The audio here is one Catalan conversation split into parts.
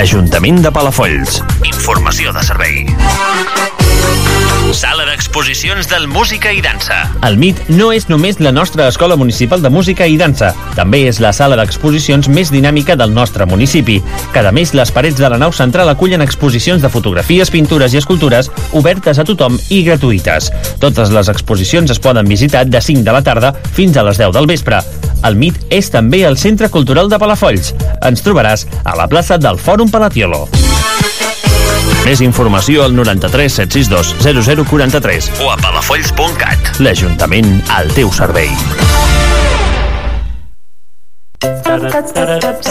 Ajuntament de Palafolls. Informació de servei. Sala d'exposicions del Música i Dansa. El MIT no és només la nostra escola municipal de música i dansa, també és la sala d'exposicions més dinàmica del nostre municipi. Cada mes, les parets de la nau central acullen exposicions de fotografies, pintures i escultures obertes a tothom i gratuïtes. Totes les exposicions es poden visitar de 5 de la tarda fins a les 10 del vespre. El MIT és també el Centre Cultural de Palafolls. Ens trobaràs a la plaça del Fòrum Palatiolo. Més informació al 93 762 0043 o a palafolls.cat. L'Ajuntament al teu servei. 608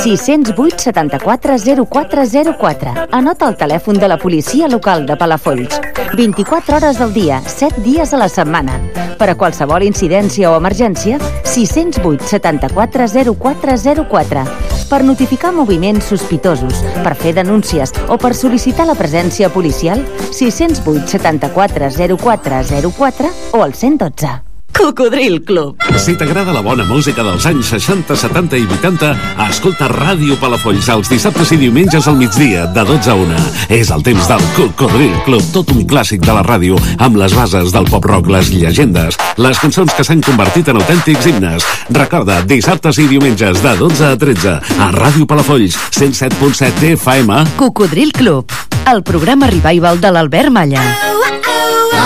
74 0404. Anota el telèfon de la policia local de Palafolls. 24 hores del dia, 7 dies a la setmana. Per a qualsevol incidència o emergència, 608 74 0404. Per notificar moviments sospitosos, per fer denúncies o per sol·licitar la presència policial, 608 74 0404 o el 112. Cocodril Club. Si t'agrada la bona música dels anys 60, 70 i 80, escolta Ràdio Palafolls els dissabtes i diumenges al migdia, de 12 a 1. És el temps del Cocodril Club, tot un clàssic de la ràdio, amb les bases del pop-rock, les llegendes, les cançons que s'han convertit en autèntics himnes. Recorda, dissabtes i diumenges, de 12 a 13, a Ràdio Palafolls, 107.7 FM. Cocodril Club, el programa revival de l'Albert Malla.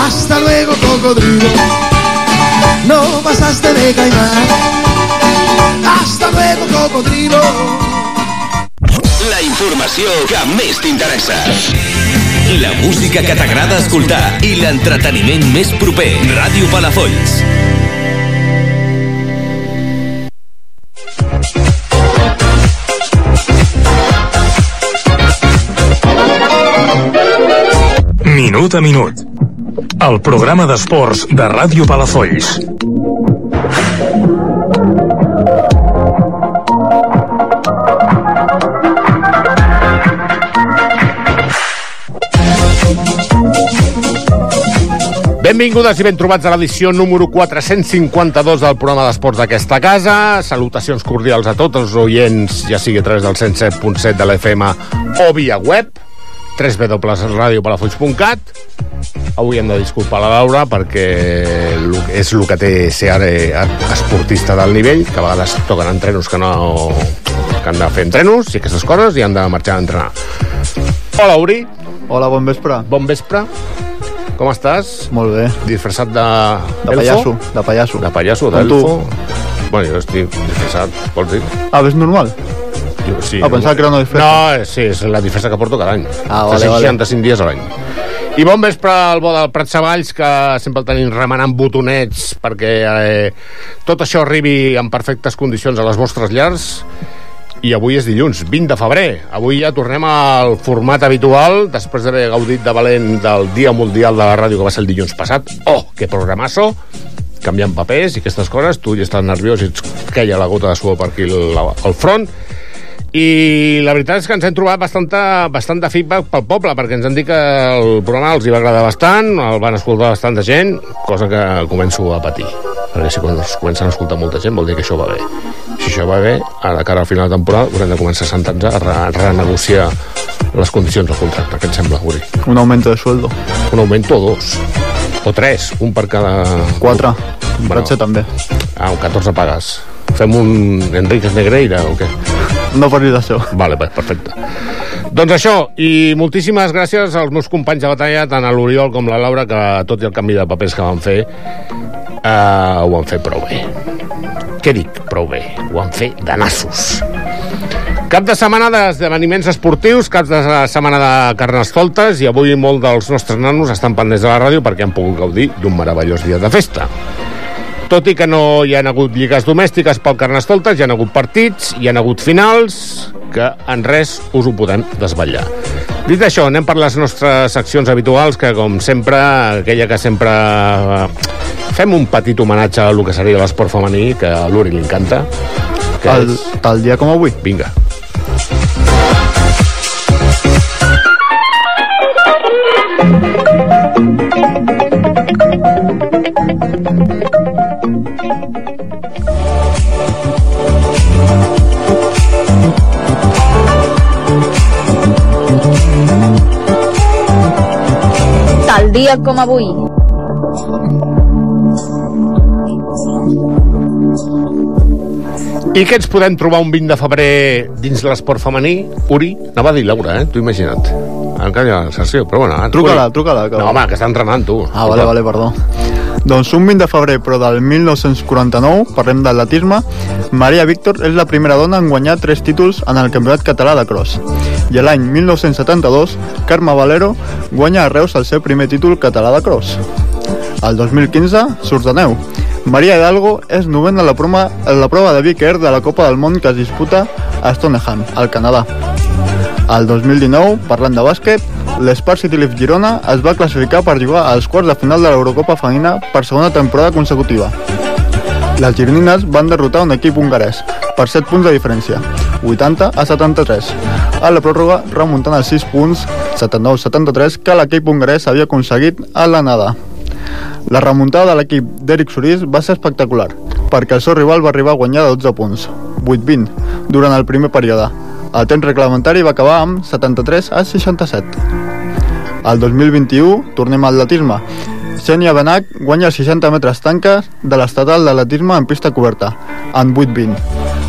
Hasta luego, cocodrilo. No pasaste de caimán. Hasta luego, cocodrilo. La informació que més t'interessa. La música que t'agrada escoltar i l'entreteniment més proper. Ràdio Palafolls. Minut a minut. El programa d'esports de Ràdio Palafolls. Benvingudes i ben trobats a l'edició número 452 del programa d'esports d'aquesta casa. Salutacions cordials a tots els oients, ja sigui a través del 107.7 de l'FM o via web www.radiopalafolls.cat Avui hem de disculpar la Laura perquè lo- és el que té ser ara eh, esportista del nivell, que a vegades toquen entrenos que no que han de fer entrenos i aquestes coses i han de marxar a entrenar. Hola, Uri. Hola, bon vespre. Bon vespre. Com estàs? Molt bé. Disfressat de... De pallasso, de pallasso. De pallasso, Com d'elfo. Bueno, jo estic disfressat, vols dir? Ah, ves normal? Jo, sí, Ah, pensava que era una disfressa. No, eh, sí, és la disfressa que porto cada any. Ah, vale, Fa vale. 65 dies a l'any. I bon vespre al bo del Prat Savalls, que sempre el tenim remenant botonets perquè eh, tot això arribi en perfectes condicions a les vostres llars. I avui és dilluns, 20 de febrer. Avui ja tornem al format habitual, després d'haver gaudit de valent del Dia Mundial de la Ràdio, que va ser el dilluns passat. Oh, que programasso! Canviant papers i aquestes coses. Tu ja estàs nerviós i ets queia la gota de suor per aquí al al front. I la veritat és que ens hem trobat bastanta, bastant de feedback pel poble, perquè ens han dit que el programa els hi va agradar bastant, el van escoltar bastant de gent, cosa que començo a patir. Perquè si quan es comencen a escoltar molta gent vol dir que això va bé. Si això va bé, a la cara al final de temporada haurem de començar a sentar-nos a re renegociar les condicions del contracte. Què et sembla, Uri? Un aumento de sueldo. Un augmento o dos? O tres? Un per cada... Quatre. Bueno. Bueno. Ratxa també. Ah, un 14 pagues. Fem un Enriquez Negreira o què? No parlis d'això. Vale, pues, perfecte. Doncs això, i moltíssimes gràcies als meus companys de batalla, tant a l'Oriol com la Laura, que tot i el canvi de papers que van fer, eh, ho han fet prou bé. Què dic? Prou bé. Ho han fet de nassos. Cap de setmana d'esdeveniments esportius, cap de setmana de carnestoltes i avui molt dels nostres nanos estan pendents de la ràdio perquè han pogut gaudir d'un meravellós dia de festa. Tot i que no hi han hagut lligues domèstiques pel Carnestoltes, hi han hagut partits, hi han hagut finals, que en res us ho podem desvetllar. Dit això, anem per les nostres seccions habituals, que com sempre, aquella que sempre eh, fem un petit homenatge a lo que seria l'esport femení, que a l'Uri li encanta, que Tal, és... tal dia com avui. Vinga. Dia com avui. I què ens podem trobar un 20 de febrer dins l'esport femení? Uri, anava a dir Laura, eh? T'ho imagina't. Encara hi ha la sessió, però bueno... ah, Truca-la, Uri. truca-la, que- No, home, que està entrenant, tu. Ah, vale, vale, perdó. Doncs un 20 de febrer, però del 1949, parlem d'atletisme, Maria Víctor és la primera dona en guanyar tres títols en el Campionat Català de Cross. I l'any 1972, Carme Valero guanya a Reus el seu primer títol català de Cross. El 2015, Surdaneu. Maria Hidalgo és novena a la, proma, a la prova de Big Air de la Copa del Món que es disputa a Stoneham, al Canadà. El 2019, parlant de bàsquet, l'Spar City Leaf Girona es va classificar per jugar als quarts de final de l'Eurocopa femenina per segona temporada consecutiva. Les gironines van derrotar un equip hongarès per 7 punts de diferència, 80 a 73. A la pròrroga remuntant els 6 punts, 79-73, que l'equip hongarès havia aconseguit a l'anada. La remuntada de l'equip d'Eric Solís va ser espectacular, perquè el seu rival va arribar a guanyar de 12 punts, 8-20, durant el primer període. El temps reglamentari va acabar amb 73 a 67. El 2021 tornem a atletisme. Xenia Benac guanya els 60 metres tanques de l'estatal d'atletisme en pista coberta, en 8-20.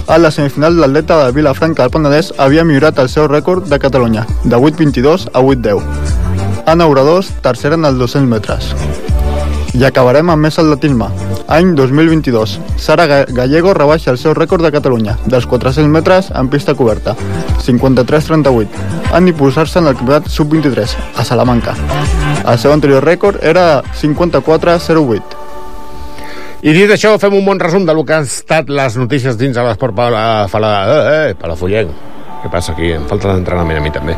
A la semifinal, l'atleta de Vilafranca del Penedès havia millorat el seu rècord de Catalunya, de 8-22 a 8-10. Anna Obradors, tercera en els 200 metres. I acabarem amb més atletisme. Any 2022. Sara Ga- Gallego rebaixa el seu rècord de Catalunya, dels 400 metres en pista coberta, 53-38, en imposar-se en el campionat sub-23, a Salamanca. El seu anterior rècord era 54-08. I dit això, fem un bon resum de lo que han estat les notícies dins de l'esport per la... Per la eh, eh, per la Follenc. Què passa aquí? Em falta d'entrenament a mi també.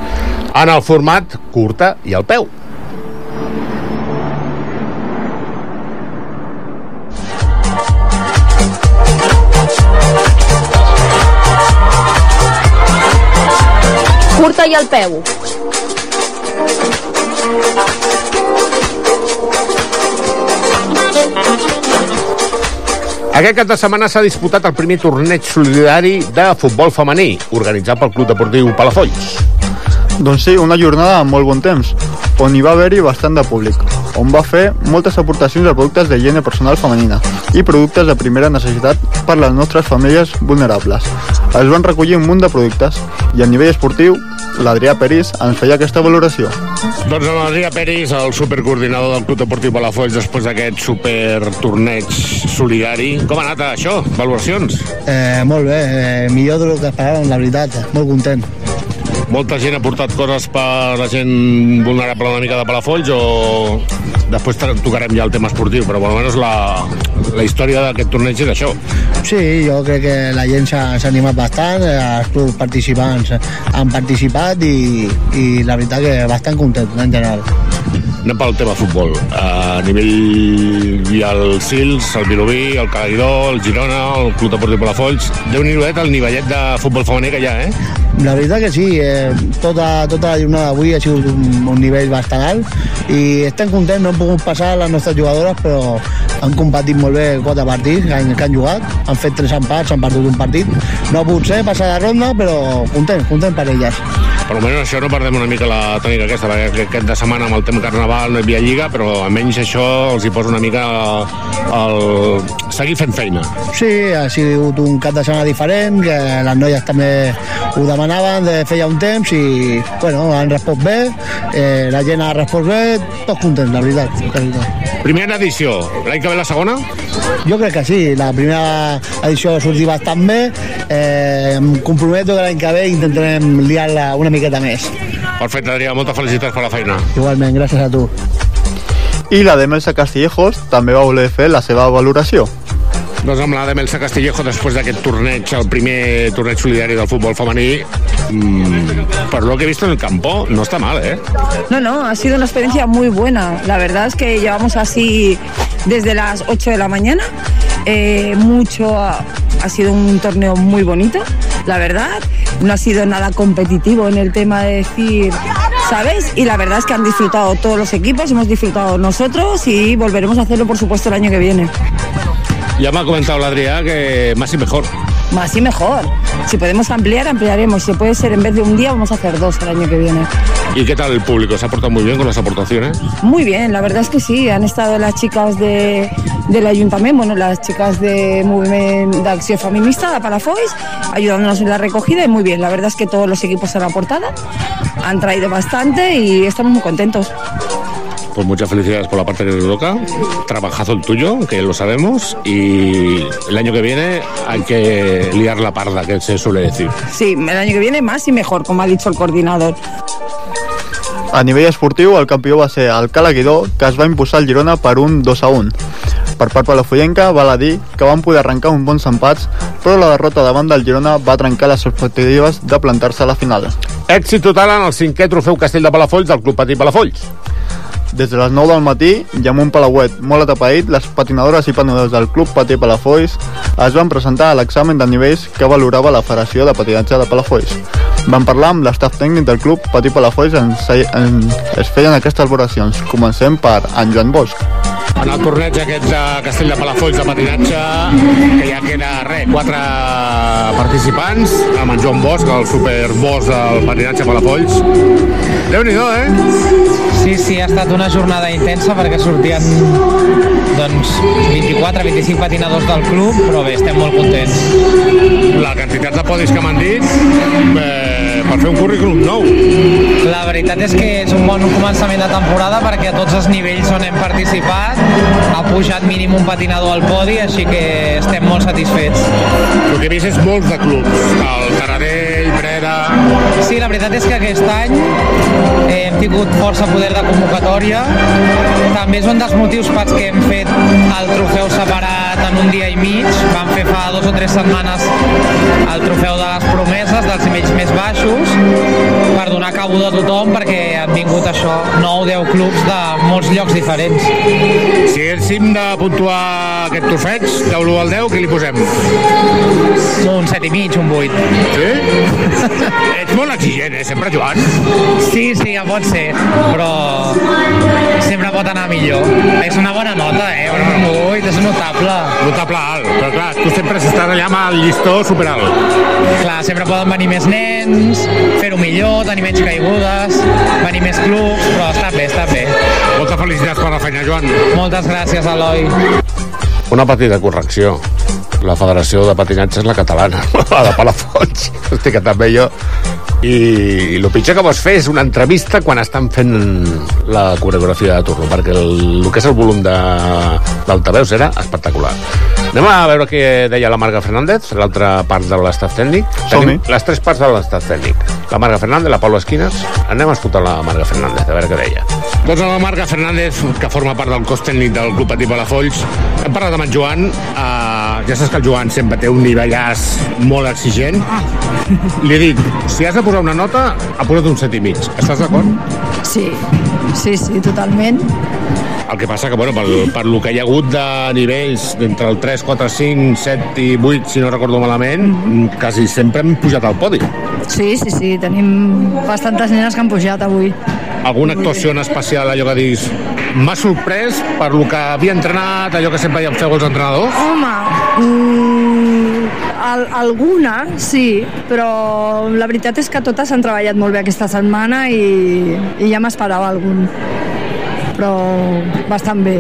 En el format curta i al peu. Curta i al peu. Aquest cap de setmana s'ha disputat el primer torneig solidari de futbol femení, organitzat pel Club Deportiu Palafolls. Doncs sí, una jornada amb molt bon temps, on hi va haver-hi bastant de públic, on va fer moltes aportacions de productes d'higiene personal femenina i productes de primera necessitat per a les nostres famílies vulnerables. Es van recollir un munt de productes i a nivell esportiu, l'Adrià Peris ens feia aquesta valoració. Doncs amb Adrià Peris, el supercoordinador del Club Deportiu Palafolls, després d'aquest supertorneig solidari. Com ha anat això? Valoracions? Eh, molt bé, eh, millor del que esperàvem, la veritat. Molt content. Molta gent ha portat coses per la gent vulnerable una mica de Palafolls o... Després to- tocarem ja el tema esportiu, però bueno, almenys la, la història d'aquest torneig és això. Sí, jo crec que la gent s'ha s'ha animat bastant, eh, els clubs participants han participat i, i la veritat que bastant content en general. Anem pel tema futbol. A nivell hi ha el Sils, el Vilobí, el Calidó, el Girona, el Club Deportiu Palafolls... Déu-n'hi-do, eh, el nivellet de futbol femení que hi ha, eh? La veritat que sí, eh, tota, tota la jornada d'avui ha sigut un, un nivell bastant alt i estem contents, no han pogut passar les nostres jugadores però han competit molt bé quatre partits que han, que han jugat, han fet tres empats, han perdut un partit, no ha pogut ser passar de ronda però content, content per elles. Per almenys això no perdem una mica la tònica aquesta, perquè aquest- aquest de setmana amb el tema carnaval no hi havia lliga, però almenys això els hi posa una mica el... seguir fent feina. Sí, ha sigut un cap de setmana diferent, que les noies també ho demanaven de feia un temps i, bueno, han respost bé, eh, la gent ha respost bé, tots contents, la veritat. La veritat. Primera edició, l'any que ve la segona? Jo crec que sí, la primera edició va sortir bastant bé, eh, em comprometo que l'any que ve intentarem liar-la una miqueta més. Perfecte, Adrià, moltes felicitats per la feina. Igualment, gràcies a tu. I la Demelsa Castillejos també va voler fer la seva valoració. Doncs amb la de Melsa Castillejo, després d'aquest torneig, el primer torneig solidari del futbol femení, mm, per lo que he vist en el campo, no està mal, eh? No, no, ha sido una experiencia muy buena. La verdad es que llevamos así desde las 8 de la mañana. Eh, mucho ha, ha sido un torneo muy bonito, la verdad. No ha sido nada competitivo en el tema de decir, ¿sabes? Y la verdad es que han disfrutado todos los equipos, hemos disfrutado nosotros y volveremos a hacerlo, por supuesto, el año que viene. Ja m'ha comentat l'Adrià que más i mejor. más y mejor. Si podemos ampliar, ampliaremos. Si puede ser en vez de un día, vamos a hacer dos el año que viene. ¿Y qué tal el público? ¿Se ha portado muy bien con las aportaciones? Muy bien, la verdad es que sí. Han estado las chicas de, del ayuntamiento, bueno, las chicas de Moviment d'Acció Feminista, de Palafois, ayudándonos en la recogida y muy bien. La verdad es que todos los equipos han aportado, han traído bastante y estamos muy contentos. Pues muchas felicidades por la parte que te toca. Trabajazo el tuyo, que lo sabemos. Y el año que viene hay que liar la parda, que se suele decir. Sí, el año que viene más y mejor, como ha dicho el coordinador. A nivell esportiu, el campió va ser el Cala Guidó, que es va imposar el Girona per un 2 a 1. Per part palafollenca, val a dir que van poder arrencar uns bons empats, però la derrota davant del Girona va trencar les expectatives de plantar-se a la final. Èxit total en el cinquè trofeu Castell de Palafolls del Club Patí Palafolls. Des de les 9 del matí i amb un palauet molt atapeït, les patinadores i patinadors del Club Patí Palafolls es van presentar a l'examen de nivells que valorava la Federació de Patinatge de Palafolls. Van parlar amb l'estaf tècnic del Club Patí Palafolls en, en, es feien aquestes valoracions. Comencem per en Joan Bosch. En el torneig aquest de Castell de Palafolls de patinatge, que ja queda res, quatre participants, amb en Joan Bosch, el superboss del patinatge a Palafolls. Déu-n'hi-do, eh? Sí, sí, ha estat una jornada intensa perquè sortien doncs, 24-25 patinadors del club, però bé, estem molt contents. La quantitat de podis que m'han dit eh, per fer un currículum nou. La veritat és que és un bon començament de temporada perquè a tots els nivells on hem participat ha pujat mínim un patinador al podi, així que estem molt satisfets. El que he vist és molts de clubs, el Taradell, Breda... Sí, la veritat és que aquest any eh, hem tingut força poder de convocatòria. També és un dels motius pels que hem fet el trofeu separat en un dia i mig. Vam fer fa dos o tres setmanes el trofeu de les promeses, dels nivells més baixos, per donar cabuda a tothom, perquè han vingut això 9 o 10 clubs de molts llocs diferents. Si haguéssim de puntuar aquest trofeig, de l'1 al 10, què li posem? Un 7 i mig, un 8. Sí? Ets molt exigent, eh, sempre, Joan? Sí, sí, ja pot ser, però sempre pot anar millor. És una bona nota, eh? Un 8 és notable. Notable alt, però clar, tu sempre estàs allà amb el llistó superalt. Clar, sempre poden venir més nens, fer-ho millor, tenir menys caigudes, venir més clubs, però està bé, està bé. Moltes felicitats per la feina, Joan. Moltes gràcies, Eloi. Una petita correcció. La Federació de Patinatge és la catalana, la de Palafolls. Hosti, que també jo... I, I el pitjor que vols fer és una entrevista quan estan fent la coreografia de turno, perquè el, el que és el volum de d'altaveus era espectacular. Anem a veure què deia la Marga Fernández, l'altra part de l'estaf tècnic. Som-hi. Tenim les tres parts de l'estat tècnic. La Marga Fernández, la Paula Esquinas. Anem a escoltar la Marga Fernández, a veure què deia. Doncs la Marga Fernández, que forma part del cos tècnic del Club Patí Palafolls, hem parlat amb en Joan. Uh, ja saps que el Joan sempre té un nivellàs molt exigent. Li he dit, si has de posar una nota, ha posat un set i mig. Estàs d'acord? Sí, sí, sí, totalment. El que passa que, bueno, per, per lo que hi ha hagut de nivells d'entre el 3, 4, 5, 7 i 8, si no recordo malament, quasi sempre hem pujat al podi. Sí, sí, sí, tenim bastantes nenes que han pujat avui. Alguna actuació en especial, allò que dius, m'ha sorprès per lo que havia entrenat, allò que sempre hi feu els entrenadors? Home, mm, al, alguna sí, però la veritat és que totes han treballat molt bé aquesta setmana i, i ja m'esperava algun, però bastant bé.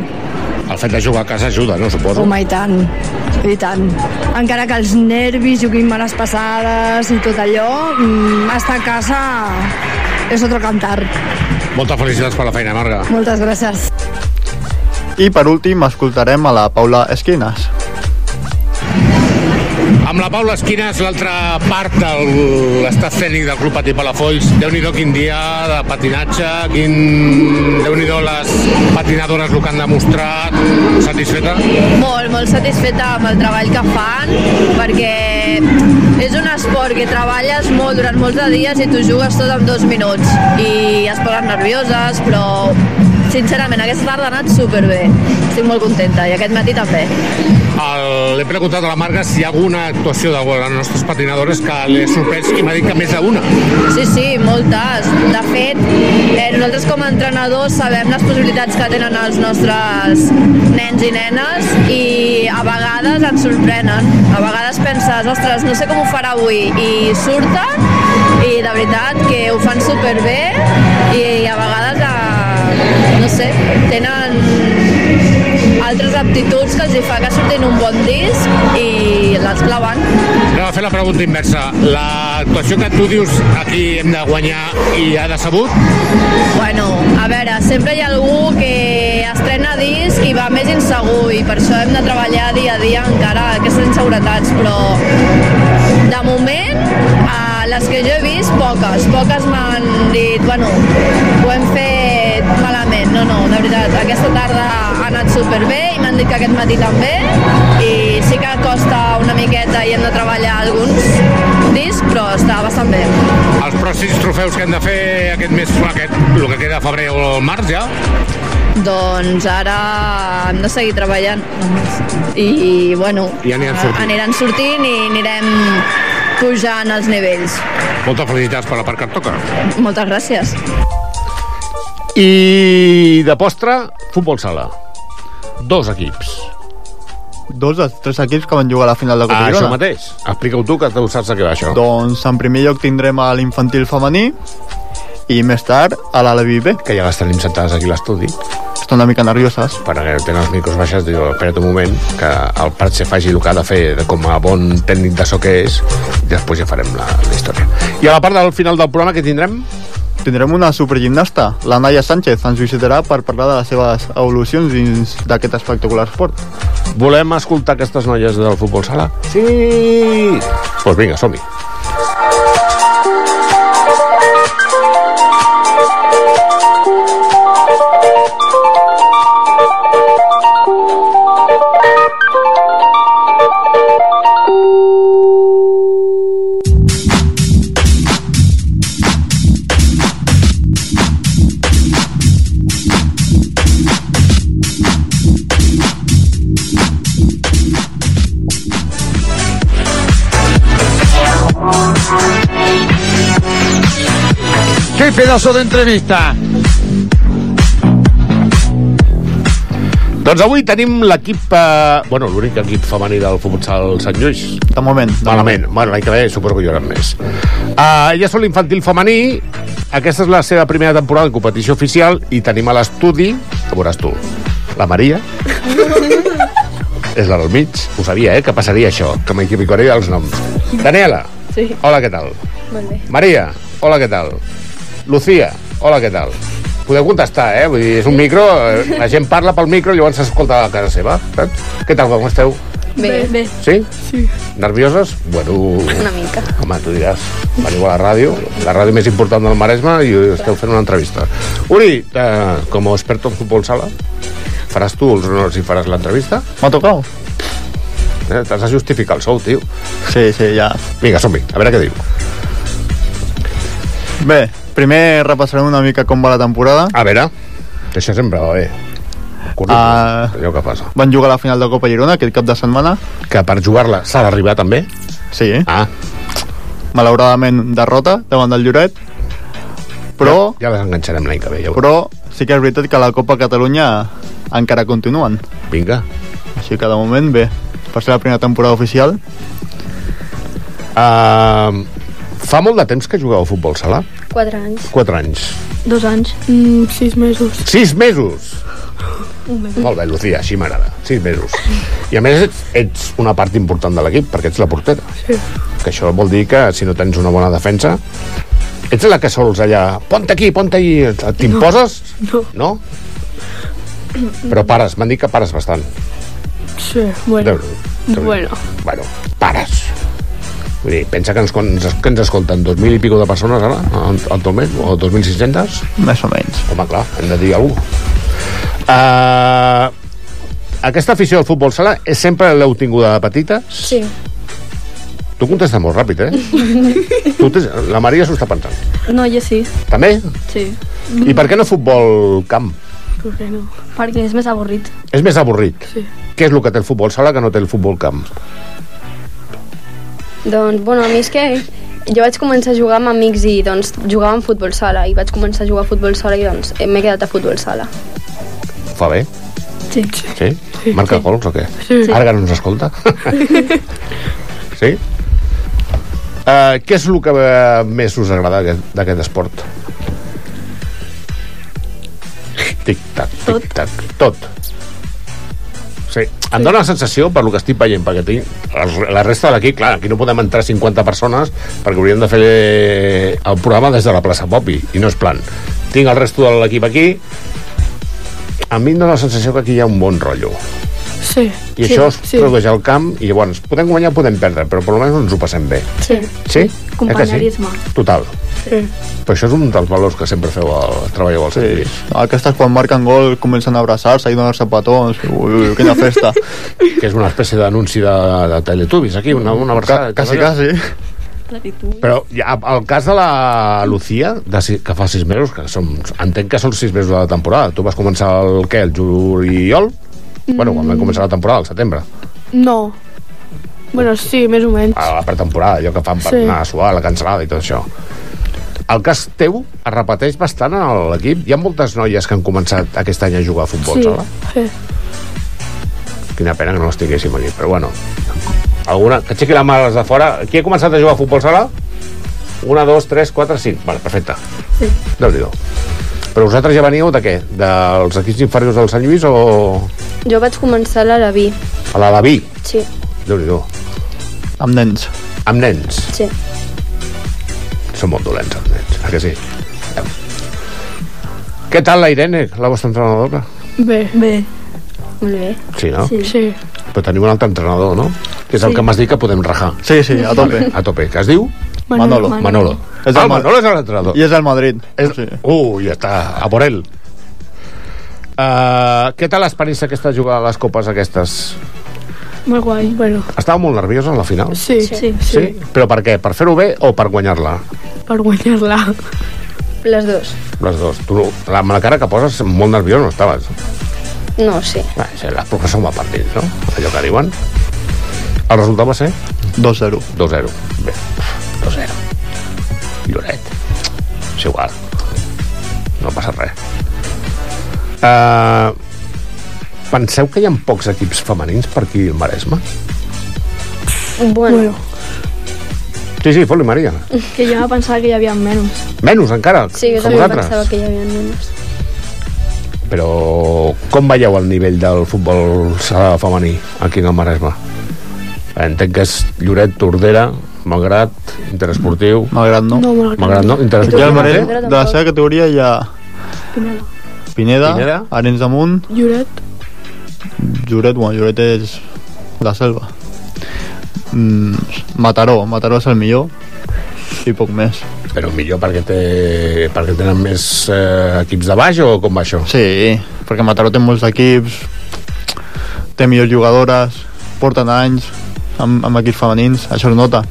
El fet de jugar a casa ajuda, no? Suposo. Home, i tant, i tant. Encara que els nervis, juguin males passades i tot allò, mm, estar a casa és otro cantar. Moltes felicitats per la feina, Marga. Moltes gràcies. I per últim escoltarem a la Paula Esquinas. Amb la Paula Esquinas, l'altra part de l'estat escènic del Club Patí Palafolls. Déu-n'hi-do quin dia de patinatge, quin... Déu-n'hi-do les patinadores el que han demostrat. Satisfeta? Molt, molt satisfeta amb el treball que fan, perquè és un esport que treballes molt durant molts de dies i tu jugues tot en dos minuts. I es posen nervioses, però sincerament aquesta tarda ha anat superbé. Estic molt contenta i aquest matí també. El... L'he preguntat a la Marga si hi ha alguna actuació de les nostres patinadores que l'he sorprès i m'ha dit que més d'una. Sí, sí, moltes. De fet, Eh, nosaltres com a entrenadors sabem les possibilitats que tenen els nostres nens i nenes i a vegades ens sorprenen. A vegades penses, ostres, no sé com ho farà avui, i surten i de veritat que ho fan superbé i a vegades, eh, no sé, tenen altres aptituds que els hi fa que surtin un bon disc i les claven. Anem a fer la pregunta inversa. L'actuació que tu dius aquí hem de guanyar i ha decebut? Bueno, a veure, sempre hi ha algú que estrena disc i va més insegur i per això hem de treballar dia a dia encara aquestes inseguretats, però de moment a les que jo he vist, poques, poques m'han dit, bueno, ho hem fet malament, no, no, de veritat, aquesta tarda ha anat superbé i m'han dit que aquest matí també i sí que costa una miqueta i hem de treballar alguns discs, però està bastant bé. Els pròxims trofeus que hem de fer aquest mes, aquest, el que queda a febrer o el març ja? Doncs ara hem de seguir treballant i, bueno, I aniran sortint. aniran sortint i anirem pujant els nivells. Moltes felicitats per la part que et toca. Moltes gràcies. I de postre, futbol sala. Dos equips. Dos dels tres equips que van jugar a la final de Copa Ah, això Girona. mateix. Explica-ho tu, que tu saps a què va això. Doncs en primer lloc tindrem a l'infantil femení i més tard a l'Alevi B. Que ja les tenim sentades aquí a l'estudi. Estan una mica nervioses. Perquè tenen els micros baixes, diu, espera't un moment, que el Prat se faci el que ha de fer de com a bon tècnic de so que és, i després ja farem la, la història. I a la part del final del programa que tindrem? Tindrem una supergimnasta, la Naya Sánchez, ens visitarà per parlar de les seves evolucions dins d'aquest espectacular esport. Volem escoltar aquestes noies del futbol sala? Sí! Doncs pues vinga, som-hi. ¡Qué pedazo de entrevista! Doncs avui tenim l'equip, eh, bueno, l'únic equip femení del futsal Sant Lluís. De moment. De Malament. Moment. Bueno, l'any que ve suposo que hi haurà més. Uh, ja són l'infantil femení, aquesta és la seva primera temporada en competició oficial i tenim a l'estudi, que veuràs tu, la Maria, és la del mig, ho sabia, eh, que passaria això, que m'equivocaria els noms. Daniela, Sí, hola, què tal? molt bé. Maria, hola, què tal? Lucía, hola, què tal? Podeu contestar, eh? Vull dir, és un micro, eh, la gent parla pel micro i llavors s'escolta a casa seva. Saps? Què tal, com esteu? Bé, bé. Sí? Sí. Nervioses? Bueno, Una mica. home, tu diràs, veniu a la ràdio, la ràdio més important del Maresme i esteu fent una entrevista. Uri, eh, com a experto en futbol sala, faràs tu els honors i faràs l'entrevista? M'ha tocat. Eh, T'has de justificar el sou, tio. Sí, sí, ja. Vinga, som-hi, a veure què diu. Bé, primer repassarem una mica com va la temporada. A veure, això sempre eh, va bé. Uh, allò que passa. Van jugar a la final de Copa Girona aquest cap de setmana. Que per jugar-la s'ha d'arribar també? Sí. Ah. Malauradament derrota davant del Lloret. Però... Ja, ja les enganxarem l'any que ve, ja ho Però sí que és veritat que la Copa Catalunya encara continuen. Vinga. Així que de moment, bé, per ser la primera temporada oficial. Uh, fa molt de temps que jugueu a futbol sala? 4 anys. 4 anys. 2 anys. Mm, 6 mesos. 6 mesos! Un mes. Molt bé, Lucía, així m'agrada. 6 mesos. I a més ets, ets una part important de l'equip, perquè ets la portera. Sí. Que això vol dir que si no tens una bona defensa, ets la que sols allà, ponte aquí, ponte allí, t'imposes? No. No? Però pares, m'han dit que pares bastant. Sí, bueno. Déu-n'hi-do. Bueno. Bueno, pares. Vull dir, pensa que ens, con- ens- que ens escolten 2.000 i pico de persones ara, en, en tot moment, o 2.600? Més o menys. Home, clar, hem de dir alguna cosa. Uh, aquesta afició al futbol sala és sempre l'heu tinguda de petita? Sí. Tu contestes molt ràpid, eh? tu tens, la Maria s'ho està pensant. No, jo sí. També? Sí. I per què no futbol camp? Per què no? Perquè és més avorrit. És més avorrit. Sí. Què és el que té el futbol sala que no té el futbol camp? Doncs, bueno, a mi és que jo vaig començar a jugar amb amics i doncs jugàvem a futbol sala i vaig començar a jugar a futbol sala i doncs eh, m'he quedat a futbol sala. Fa bé? Sí. Sí? Marca gols o què? Sí. Ara que no ens escolta. sí? Uh, què és el que eh, més us agrada d'aquest- d'aquest esport? Tic-tac, tic-tac, tot. Sí. Em dóna la sensació, per lo que estic veient, perquè tinc els- la resta de l'equip, clar, aquí no podem entrar 50 persones perquè hauríem de fer el programa des de la plaça Popi, i no és plan. Tinc el resto de l'equip aquí, a mi em dóna la sensació que aquí hi ha un bon rotllo. Sí. I sí, això es sí. tradueix al camp i llavors podem guanyar, podem perdre, però per almenys ens ho passem bé. Sí. Sí? Eh que sí? Companyerisme. Total. Sí. Però això és un dels valors que sempre feu al treball als equips. Aquestes quan marquen gol comencen a abraçar-se i donar-se petons. Ui, ui, quina festa. que és una espècie d'anunci de, de Teletubbies, aquí, una, una abraçada. Quasi, quasi. Però ja, el cas de la Lucía, de, si- que fa sis mesos, que som, entenc que són sis mesos de la temporada. Tu vas començar el què, el juliol? Mm. Bueno, quan va començar la temporada, al setembre. No. Bueno, sí, més o menys. a la pretemporada, allò que fan per Sí. sí. anar a suar, la cancel·lada i tot això. El cas teu es repeteix bastant a l'equip. Hi ha moltes noies que han començat aquest any a jugar a futbol, sí. sala. sí. Quina pena que no les tinguéssim aquí, però bueno. Alguna... Que aixequi la mà a les de fora. Qui ha començat a jugar a futbol sala? Una, dos, tres, quatre, cinc. Vale, perfecte. Sí. déu nhi Però vosaltres ja veníeu de què? Dels equips inferiors del Sant Lluís o Jo vaig començar a l'Arabí, a l'Alaví? sí, déu nhi Amb nens. Amb nens. sí. Són molt dolents, els nens, eh que sí? Què tal la Irene, la vostra entrenadora? Bé. Bé. Molt bé. Sí, no? Sí. sí. Però tenim un altre entrenador, no? Que és el Sí. que m'has dit que podem rajar. Sí, sí, a tope. A tope. Que es diu? Manolo. Manolo. Manolo. És el ah, Ma- Manolo és l'entrenador. I és el Madrid. És... Sí. Uh, ja està. A por él. Uh, què tal l'experiència aquesta de jugar a les copes aquestes? Molt guai, bueno, Estava molt nerviosa en la final? sí, sí, sí. Sí? Però per què? Per fer-ho bé o per guanyar-la? Per guanyar-la. Les dues. Les dues. Tu, la, amb la cara que poses, molt nerviós no estaves. No, sí. Bé, sí, la professor m'ha partit, no? Allò que diuen. El resultat va ser? 2-0. 2-0. Bé, 2-0. Lloret. És igual. No passa res. Uh, penseu que hi ha pocs equips femenins per aquí al Maresme? Bueno. bueno. Sí, sí, fot-li, Maria. Que jo em pensava que hi havia menys. Menys, encara, Sí, jo que també vosaltres. pensava que hi havia menys. Però com veieu el nivell del futbol sala femení aquí en el Maresme? Entenc que és Lloret, Tordera, Malgrat, Interesportiu... Malgrat no. No, Malgrat Malgrat no. Aquí al Interesportiu no Madrid, té? de la seva categoria hi ha Pineda, Pineda. Arenys de Munt, Lloret, Lloret, bueno, Lloret és la selva. Mm, Mataró, Mataró és el millor i poc més. Però millor perquè, té, perquè tenen més eh, equips de baix o com va això? Sí, perquè Mataró té molts equips, té millors jugadores, porten anys amb, amb equips femenins, això es nota.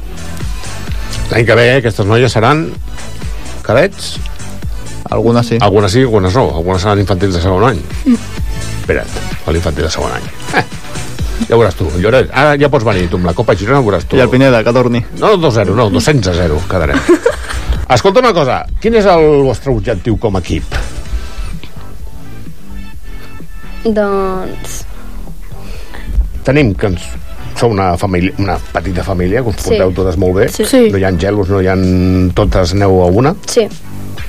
L'any que ve eh, aquestes noies seran cadets? Algunes sí. Algunes sí, algunes no. Algunes seran infantils de segon any. Mm. Espera't, a l'infantil de segon any. Eh. Ja ho veuràs tu, Lloret. Ara ja pots venir tu amb la Copa Girona, ho veuràs tu. I el Pineda, que torni. No 2-0, no, 200 a 0 quedarem. Escolta una cosa, quin és el vostre objectiu com a equip? Doncs... Tenim que ens sou una, família, una petita família, que us Sí. porteu totes molt bé. Sí. Sí. No hi ha gelos, no hi ha... Totes aneu a una. Sí.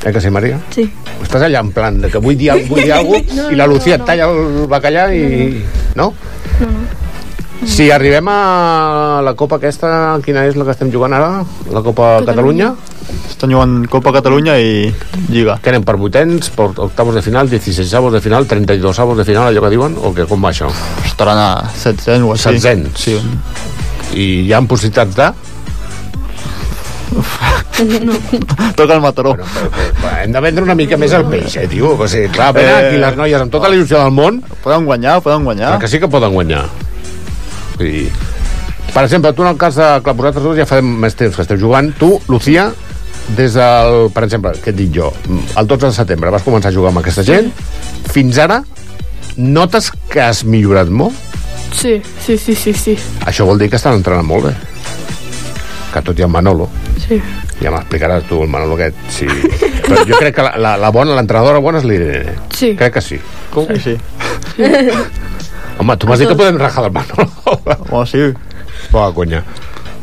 Eh que sí, Maria? Sí. Estàs allà en plan de que vull dir, al- vull dir alguna cosa No, i la no, Lucía no. et talla el bacallà i... No? No, no. Si arribem a la Copa aquesta, quina és la que estem jugant ara? La Copa Catalunya? Catalunya. Estan jugant Copa Catalunya i Lliga. Que anem per vuitens, per octavos de final, 16 avos de final, 32 avos de final, allò que diuen, o que com va això? Estaran a 700 o així. 700. Sí. I hi ha possibilitats de... Toca el Mataró. Bueno, hem de vendre una mica més el peix, eh, tio? O sigui, clar, venen Eh. aquí les noies amb tota la il·lusió del món... Poden guanyar, poden guanyar. Perquè sí que poden guanyar. Vull dir... Per exemple, tu en el cas de... Clar, vosaltres dos ja fa més temps que esteu jugant. Tu, Lucía, des del... Per exemple, què et dic jo? El 12 de setembre vas començar a jugar amb aquesta gent. Fins ara, notes que has millorat molt? Sí, sí, sí, sí, sí. Això vol dir que estan entrenant molt bé. Que tot i en Manolo. Sí. Sí. Ja m'explicaràs tu, el Manolo aquest, sí. Però jo crec que la, la, la bona, l'entrenadora bona és l'Irene. Sí. Crec que sí. Com? Sí, sí. Home, tu m'has dit que podem rajar del Manolo. Home, sí. Poca conya.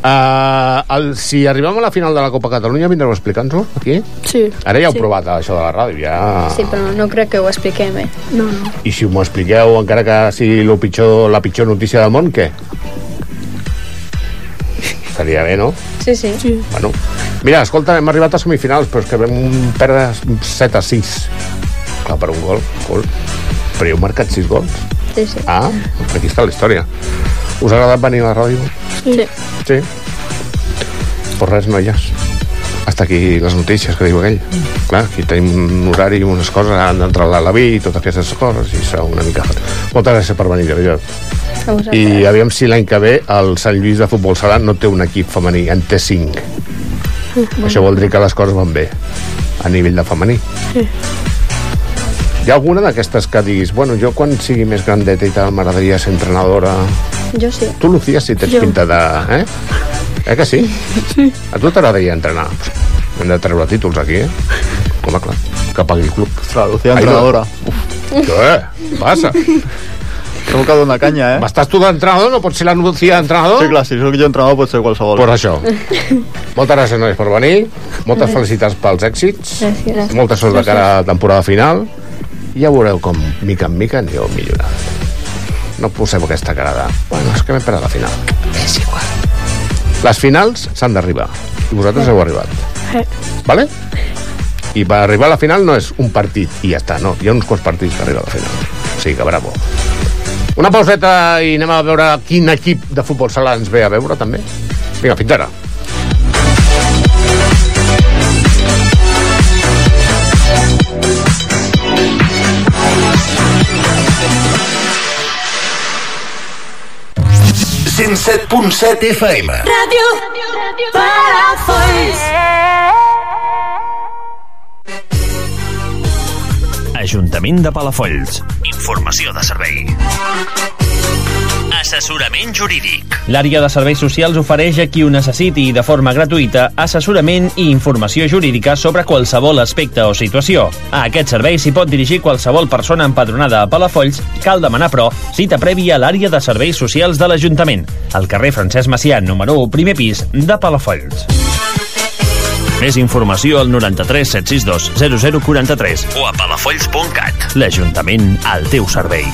Uh, el, si arribem a la final de la Copa Catalunya vindreu a explicar-nos-ho aquí? Sí. Ara ja heu sí. provat això de la ràdio ja... Sí, però no crec que ho expliquem, eh? No, no. i si m'ho expliqueu encara que sigui lo pitjor, la pitjor notícia del món què? estaria bé, no? Sí, sí. sí. Bueno. Mira, escolta, hem arribat a semifinals, però és que vam perdre 7 a 6. Clar, per un gol, gol. Però hi heu marcat 6 gols. Sí, sí. Ah, aquí està la història. Us ha agradat venir a la ràdio? Sí. Sí. Pues res, noies. Hasta aquí les notícies que diu aquell. Clar, aquí tenim un horari i unes coses, han d'entrar a la i totes aquestes coses, i serà una mica... Moltes gràcies per venir, de veritat. A vosaltres. I aviam si l'any que ve el Sant Lluís de Futbol Sala no té un equip femení, en té cinc. Això vol dir que les coses van bé a nivell de femení. Sí. Hi ha alguna d'aquestes que diguis, bueno, jo quan sigui més grandeta i tal m'agradaria ser entrenadora... Jo sí. Tu, Lucía, si tens Jo. pinta de... Eh? Eh que sí? Sí. A tu t'agradaria entrenar? Hem de treure títols aquí, eh? Home, clar, que pagui el club. La Lucía entrenadora. Què? Passa? Segur que dona canya, eh? M'estàs tu d'entrenador? No pots ser la Lucía entrenador? Sí, clar, si sóc jo entrenador pot ser qualsevol. Pues això. Moltes gràcies, nois, per venir. Moltes felicitats pels èxits. Gràcies. Molta sort de cara a la temporada final. I ja veureu com, mica en mica, anireu millorant. No posem aquesta cara de... Bueno, és que m'he perdut la final. És igual. Les finals s'han d'arribar. I vosaltres heu arribat. Vale? I per arribar a la final no és un partit i ja està, no. Hi ha uns quants partits per arribar a la final. O sigui que bravo. Una pauseta i anem a veure quin equip de futbol sala ens ve a veure, també. Vinga, fins ara. FM. Radio Palafolls. Ajuntament de Palafolls. Informació de servei. Assessorament jurídic. L'àrea de serveis socials ofereix a qui ho necessiti i de forma gratuïta assessorament i informació jurídica sobre qualsevol aspecte o situació. A aquest servei s'hi pot dirigir qualsevol persona empadronada a Palafolls, cal demanar, però, cita prèvia a l'àrea de serveis socials de l'Ajuntament, al carrer Francesc Macià, número 1, primer pis, de Palafolls. Més informació al 93 762 0043 o a palafolls.cat. L'Ajuntament al teu servei.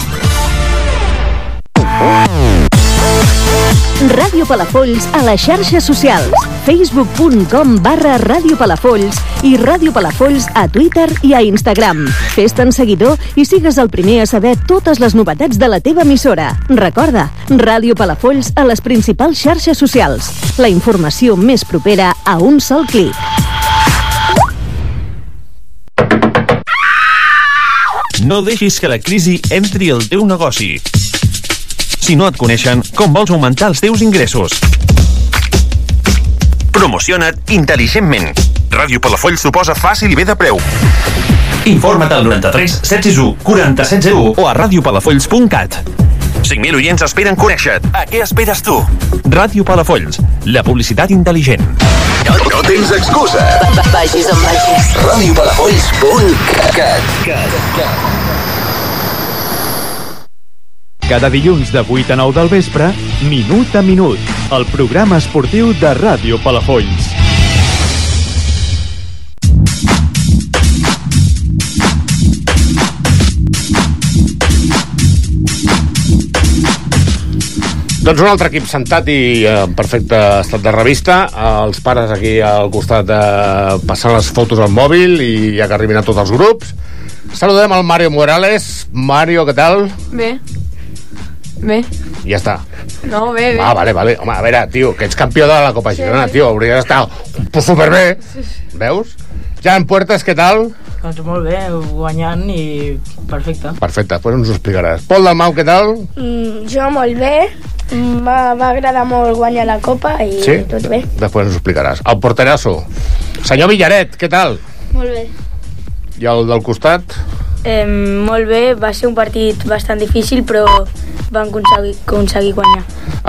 Ràdio Palafolls a les xarxes socials. facebook.com barra Ràdio Palafolls i Ràdio Palafolls a Twitter i a Instagram. Fes-te'n seguidor i sigues el primer a saber totes les novetats de la teva emissora. Recorda, Ràdio Palafolls a les principals xarxes socials. La informació més propera a un sol clic. No deixis que la crisi entri al teu negoci. Si no et coneixen, com vols augmentar els teus ingressos? Promociona't intel·ligentment. Ràdio Palafolls suposa fàcil i bé de preu. Informa't al 93 761 4701 o a radiopalafolls.cat. 5.000 oients esperen conèixer-te. A què esperes tu? Ràdio Palafolls, la publicitat intel·ligent. No, no tens excusa. Vagis on vagis. Ràdio Palafolls. Punt. Cat. Cat. Cat. Cada dilluns de 8 a 9 del vespre, Minut a Minut, el programa esportiu de Ràdio Palafolls. Doncs un altre equip sentat i eh, en perfecte estat de revista. Eh, Els pares aquí al costat eh, passant les fotos al mòbil i ja que arribin a tots els grups. Saludem al Mario Morales. Mario, què tal? Bé. Bé. Ja està. No, bé, bé. Ah, vale, vale. Home, a veure, tio, que ets campió de la Copa Sí. Girona, tio. Hauries d'estar pues, superbé. Veus? Ja en Puertes, què tal? Doncs molt bé, guanyant i perfecte. Perfecte, doncs ens ho explicaràs. Pol Dalmau, què tal? Mm, jo molt bé, Mm, va, va agradar molt guanyar la copa i tot bé. Després ens ho explicaràs. El porterasso. Senyor Villaret, què tal? Molt bé. I el del costat? Eh, molt bé, va ser un partit bastant difícil, però vam aconseguir, aconseguir guanyar.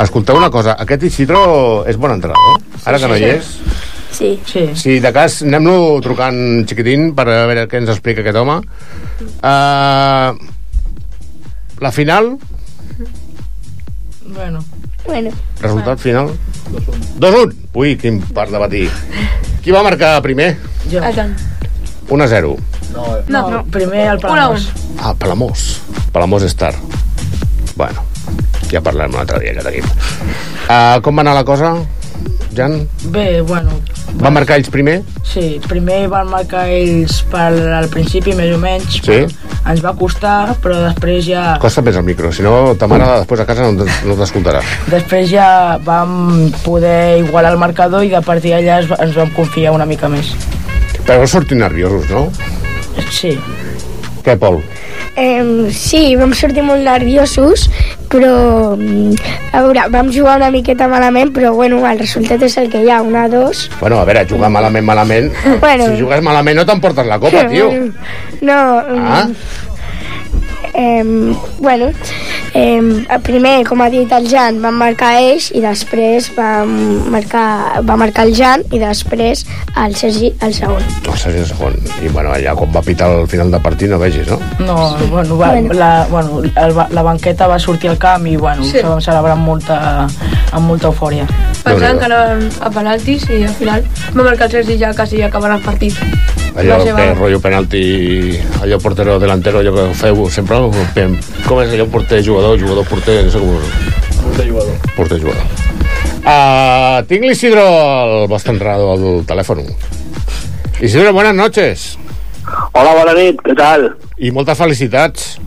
Escolteu una cosa, aquest Isidro és bon entrenador. Ara que sí, no hi sí. és, Sí. Sí. Si de cas, anem-lo trucant xiquitín per a veure què ens explica aquest home. Uh, la final, Bueno. Bueno. resultat final... 2-1. Ui, quin part de batir. Qui va marcar primer? Jo. 1-0. No, no, primer el Palamós. Ah, Palamós. Palamós Star. Bueno, ja parlarem un altre dia que tenim. Uh, com va anar la cosa, Jan? Bé, bueno, Van marcar ells primer? sí, primer van marcar ells per al principi, més o menys. Sí. Ens va costar, però després ja... Costa més el micro, si no ta mare després a casa no, no t'escoltarà. Després ja vam poder igualar el marcador i de partir d'allà es- ens vam confiar una mica més. Però vau sortir nerviosos, no? Sí. Què, Pol? Eh, sí, vam sortir molt nerviosos, però... mm, A veure, vam jugar una miqueta malament, però bueno, el resultat és el que hi ha, una, dos... Bueno, a veure, jugar malament, malament... Bueno. Si jugues malament no t'emportes la copa, tio. Bueno, No... mm, Ah? Em, bueno, em, el primer, com ha dit el Jan, van marcar ells i després va marcar, va marcar el Jan i després el Sergi el segon. No sé si és segon. I bueno, allà quan va pitar al final de partit no vegis, no? No, bueno, va, Bueno. La, bueno el, ba- la banqueta va sortir al camp i bueno, sí. vam celebrar amb molta, amb molta eufòria. Pensaven que anàvem a penaltis i al final va marcar el Sergi ja quasi acabant el partit. Allò Va que ser bo. rotllo eh, penalti, allò portero delantero, allò que feu sempre, pen- com és allò porter jugador, jugador porter, no sé com... Porter jugador. Porter jugador. Uh, tinc l'Isidro, el vostre entrado al telèfon. Isidro, buenas noches. Hola, bona nit, què tal? I moltes felicitats.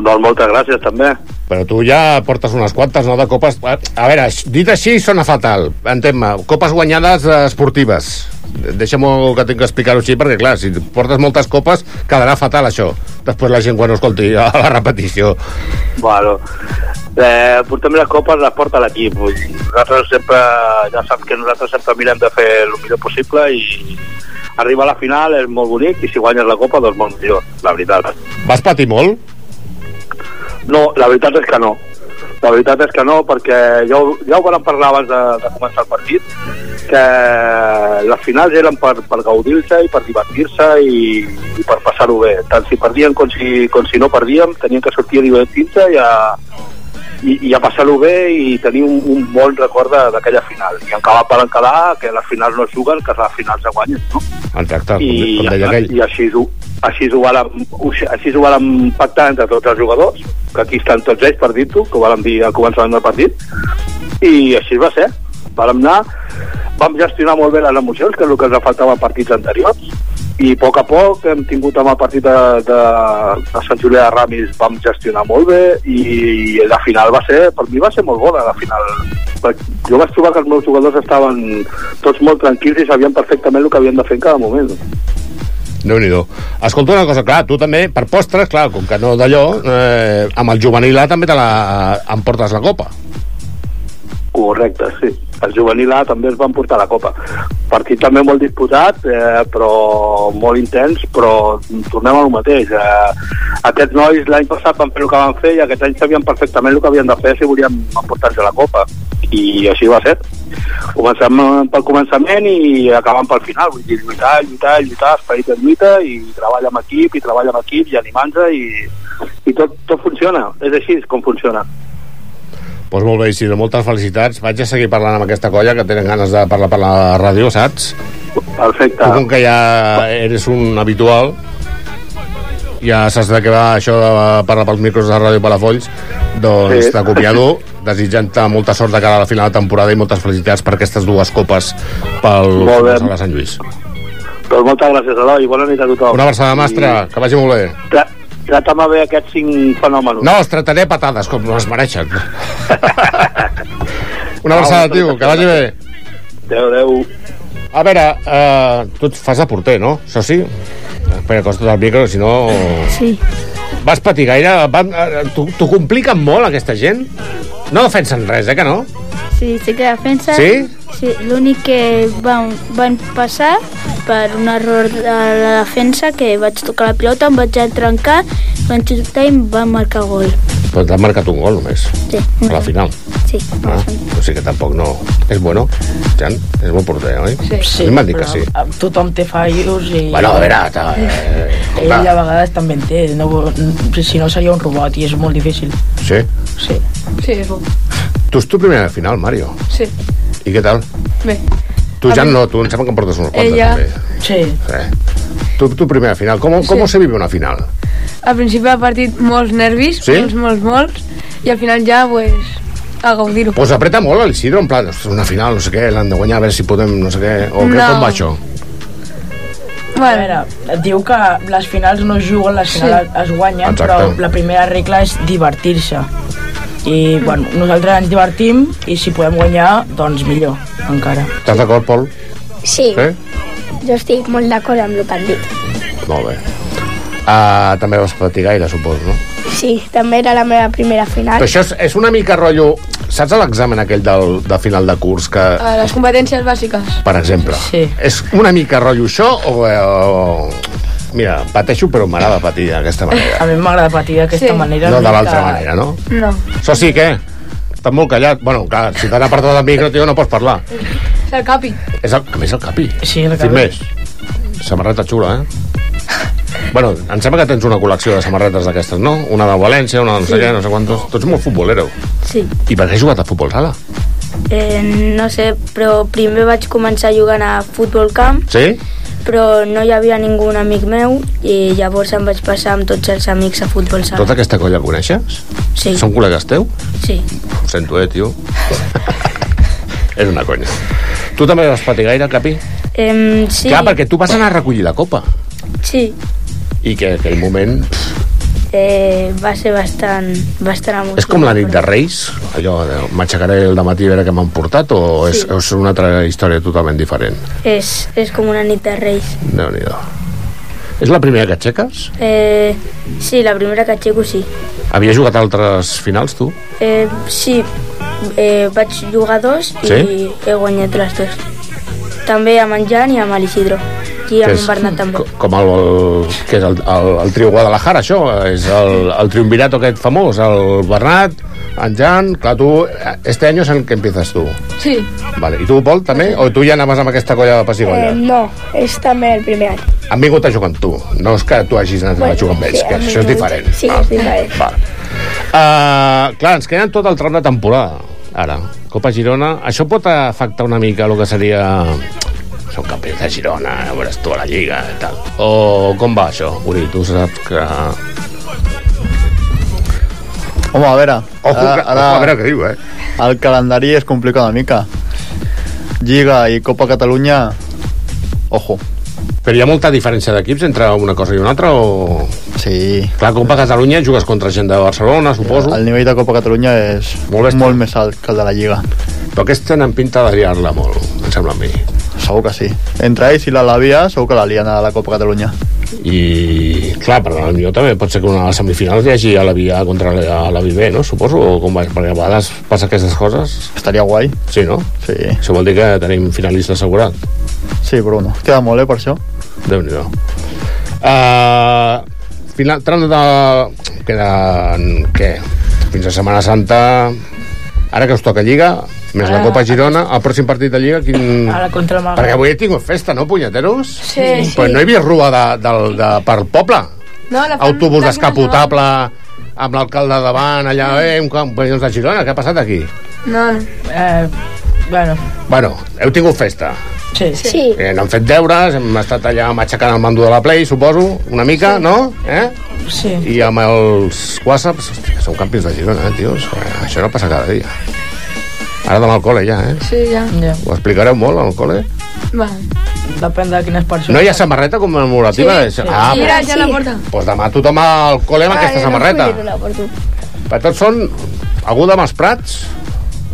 Doncs moltes gràcies, també. Però tu ja portes unes quantes, no?, de copes... A veure, aix- dit així sona fatal, entén-me. Copes guanyades eh, esportives. Deixa'm que tinc que explicar-ho així, perquè, clar, si portes moltes copes, quedarà fatal, això. Després la gent, quan ho escolti a la repetició. Bueno, eh, portem les copes, les porta l'equip. Vull dir, Nosaltres sempre, ja saps que nosaltres sempre mirem de fer el millor possible i arribar a la final és molt bonic i si guanyes la copa, doncs molt millor, la veritat. Vas patir molt? No, la veritat és que no. La veritat és que no, perquè ja ho, ja ho vam parlar abans de, de començar el partit, que les finals eren per, per gaudir-se i per divertir-se i, i per passar-ho bé. Tant si perdíem com si, com si no perdíem, tenien que sortir a divertir-se i a, i, i a passar-ho bé i tenir un, un bon record de- d'aquella final. I encara per quedar que les finals no es juguen, que les finals se guanyen. No? Exacte, com, I, com deia aquell. i així, ho- així, ho vàrem, així ho vàrem pactar entre tots els jugadors, que aquí estan tots ells per dir-t'ho, que ho vàrem dir al començament del partit, i així va ser. Vàrem anar, vam gestionar molt bé les emocions, que és el que ens faltava a partits anteriors, i a poc a poc hem tingut amb el partit de, de, de Sant Julià de Ramis vam gestionar molt bé i la final va ser, per mi va ser molt bona la final Perquè jo vaig trobar que els meus jugadors estaven tots molt tranquils i sabien perfectament el que havien de fer en cada moment déu nhi Escolta una cosa, clar, tu també, per postres, clar, com que no d'allò, eh, amb el juvenil A també te la, eh, em portes la copa. Correcte, sí. El juvenil A també es van portar la copa. Partit també molt disputat, eh, però molt intens, però tornem al mateix. Eh, aquests nois l'any passat van fer el que van fer i aquest any sabien perfectament el que havien de fer si volien emportar-se la copa. I així va ser. Comencem eh, pel començament i acabem pel final. Vull dir, lluitar, lluitar, lluitar, esperit de lluita i treball amb equip, i treball amb equip, i animar-nos i, i tot, tot funciona. És així com funciona. Doncs molt bé, Isidro, moltes felicitats. Vaig a seguir parlant amb aquesta colla que tenen ganes de parlar per la ràdio, saps? Perfecte. Tu, com que ja eres un habitual, ja saps de què va això de parlar pels micros de Ràdio Palafolls, doncs Sí. sí. t'acomiado, desitjant-te molta sort de cara a la final de temporada i moltes felicitats per aquestes dues copes pel Molt bé. Sala Sant Lluís. Doncs moltes gràcies, Eloi. Bona nit a tothom. Una abraçada, mestre, que vagi molt bé. I tra- Trata-me bé aquests cinc fenòmenos. No, els trataré a patades, com no es mereixen. Una abraçada, tio, que vagi bé. Adéu, adéu. A veure, eh, tu et fas de porter, no? Això sí? Espera, acosta't al micro, si no... Sí. Vas patir gaire? Van- eh, T'ho t'ho compliquen molt, aquesta gent? No defensen res, eh, que no? Sí, sí que defensa. Sí? Sí, l'únic que van, van passar per un error de la defensa que vaig tocar la pilota, em vaig trencar, van xutar i em van marcar gol. Però t'han marcat un gol, només, Sí. a la final. Sí. No, o sigui que tampoc no... És bueno, Jan, és bon porter, oi? A mi m'han dit que sí. però, eh, Tothom té fallos i... Bueno, a veure, ta- eh, Ell compte. a vegades també en té, no, vo- si no seria un robot i és molt difícil. Sí. Sí. Sí, és bo. Tu ets tu primer a la final, Mario. Sí. I què tal? Bé. Tu, A Jan, mi- no, tu em sembla que em portes uns quantes, Ella... també. Sí. Sí. Tu, tu primer a la final. Com, com se vive una final? Al principi del partit molts nervis, Sí? molts, molts, molts, i al final ja, pues, a gaudir-ho. Pues apreta molt el Isidro, en plan, "Ostres, una final, no sé què, l'han de guanyar, a veure si podem, no sé què... O què, No. com va això? Bueno. A veure, et diu que les finals no es juguen, les Sí. finals sí. es guanyen, Exacte. però la primera regla és divertir-se. I, bueno, nosaltres ens divertim i si podem guanyar, doncs millor, encara. Estàs d'acord, Pol? Sí, Sí? jo estic molt d'acord amb el que han dit. Molt bé. Uh, també vas patir gaire, suposo, no? Sí, també era la meva primera final. Però això és, és una mica rotllo... Saps l'examen aquell del, de final de curs que, A les competències bàsiques. per exemple, Sí. és una mica rotllo això o... eh, o... Mira, pateixo però m'agrada patir d'aquesta manera. A mi m'agrada patir d'aquesta Sí. sí. manera. Eh. No una de l'altra mica- manera, no? No. Això sí, què? Estàs molt callat. Bueno, clar, si t'han apartat del micro, tio, no pots parlar. És el capi. És el, a més, el capi. Sí, el Sin capi. més. Samarreta xula, eh? Bueno, em sembla que tens una col·lecció de samarretes d'aquestes, no? Una del València, una de no sé Sí. què, no sé quantos. Tu ets molt futbolero. Sí. I per què has jugat a futbol sala? Eh, no sé, però primer vaig començar jugant a futbol camp, Sí? però no hi havia ningú un amic meu i llavors em vaig passar amb tots els amics a futbol sala. Tota aquesta colla coneixes? Sí. Són col·legues teu? Sí. Ho sento, eh, tio. És una conya. Tu també vas patir gaire, Capi? Eh, sí. Clar, perquè tu vas anar a recollir la copa. Sí. I que en aquell moment pff, Eh, va ser bastant, bastant emocionant. és com la nit de Reis, allò de m'aixecaré el matí a veure què m'han portat, o és, Sí. és una altra història totalment diferent? És, és com una nit de reis. déu nhi És la primera que aixeques? Eh, sí, la primera que aixeco sí. Havia jugat altres finals, tu? Eh, sí, eh, vaig jugar dos i Sí? he guanyat les dues. També amb en Jan i amb l'Isidro. I amb Que és- en Bernat també. Com el, el que és el, el, el trio Guadalajara, això? És el, el triumvirat aquest famós, el Bernat, en Jan... Clar, tu, eh, este any és el que empiezas tu. Sí. Vale. I tu, Pol, també? O tu ja anaves amb aquesta colla Eh, de pessigolles? no, és també el primer any. Han vingut a jugar amb tu. No és que tu hagis anat a jugar amb ells, sí, que han això és vingut. diferent. Sí, és diferent. Va. Uh, clar, ens queden tot el tram de temporada, ara. Copa Girona, això pot afectar una mica el que seria... Som campions de Girona, ja veuràs tu a la Lliga i tal. O com va això, Uri? Tu saps que... Home, a veure... Ojo, que- ojo, a veure què diu, eh? El calendari es complica una mica. Lliga i Copa Catalunya... Ojo. Però hi ha molta diferència d'equips entre una cosa i una altra o... Sí. Clar, Copa Catalunya jugues contra gent de Barcelona, suposo. El nivell de Copa Catalunya és molt, molt més alt que el de la Lliga. Però aquests tenen pinta de liar-la molt, em sembla a mi. Segur que sí. Entre ells i la Lavia segur que la lien a la Copa Catalunya. I, clar, però potser també pot ser que una de les semifinals hi hagi a la via contra la, la B, no? Suposo, o com va, perquè a vegades passa aquestes coses. Estaria guai. Sí, no? Sí. Això vol dir que tenim finalista assegurat. Sí, però bueno, queda molt, eh, per això. Déu-n'hi-do. Uh, final, tram de... Queden, què? Fins a Setmana Santa... Ara que us toca Lliga, més la Ara- Copa Girona, el pròxim partit de Lliga, quin... Ara contra el Maga. Mm. Perquè avui he tingut festa, no, punyeteros? Sí, sí. Però no hi havia rua de, de, de, per poble. No, la fan- autobús la- descapotable amb l'alcalde davant, allà, eh, amb companys de Girona, què ha passat aquí? No, no. Eh, bueno, Bueno, heu tingut festa. sí. Sí. Eh, hem fet deures, hem estat allà matxacant el mando de la Play, suposo, una mica, sí. no? Eh? Sí. I amb els whatsapps, hòstia, som campions de Girona, eh, tios? Eh, Això no passa cada dia. Ara demà al col·le, ja, eh? Sí, ja. ja. Ho explicareu molt al col·le? Va. Depèn de quines persones. No hi ha samarreta commemorativa? Sí, sí. Ah, Mira, ja la porta. doncs pues demà tothom al col·le Ah, amb aquesta samarreta. Per tots són... Algú de Masprats?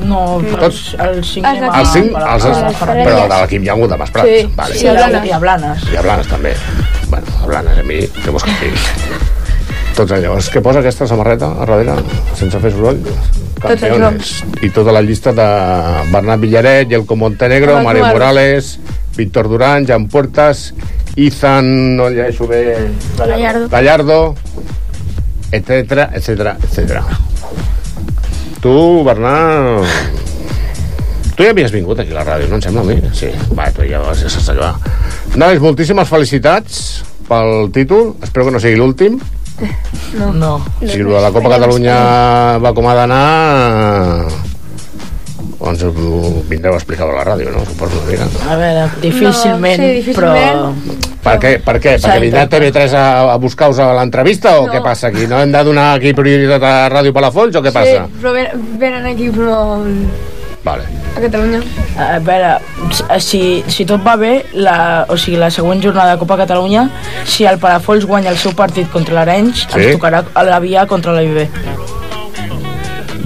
No, Tots? tots els cinc... Els anem a- Els cinc, a la- els, a la els, Ferreries. però de l'equip hi ha algú de Masprats. Sí, vale. sí, i a Blanes. I a Blanes també. Bueno, a Blanes, a mi, què vols que et digui? Tots allò. És que posa aquesta samarreta a darrere, sense fer soroll. Tots els Campeones. I tota la llista de Bernat Villaret, Yelko Montenegro, Home, Mario Eduardo. Morales, Víctor Durán, Jan Puertas, Izan, no llegeixo bé... Gallardo. Gallardo, etcètera, etcètera, etcètera. Tu, Bernat... Tu ja havies vingut aquí a la ràdio, no em sembla a mi? Sí, va, tu ja vas a allà. Nois, moltíssimes felicitats pel títol. Espero que no sigui l'últim. No. no. Si la Copa Catalunya va com ha d'anar... Doncs ho vindreu a explicar a la ràdio, no? Suposo una mica. A veure, difícilment, No, sí, difícilment. però... Per què? Per què? Perquè vindrà TV3 a, a buscar-vos a l'entrevista o què passa aquí? No hem de donar aquí prioritat a Ràdio Palafolls o què passa? Sí, però ven- venen aquí, però... Vale. A Catalunya. A veure, si, si tot va bé, la, o sigui, la següent jornada de Copa Catalunya, si el Palafolls guanya el seu partit contra l'Arenys, Sí. sí. ens tocarà a la via contra la IB.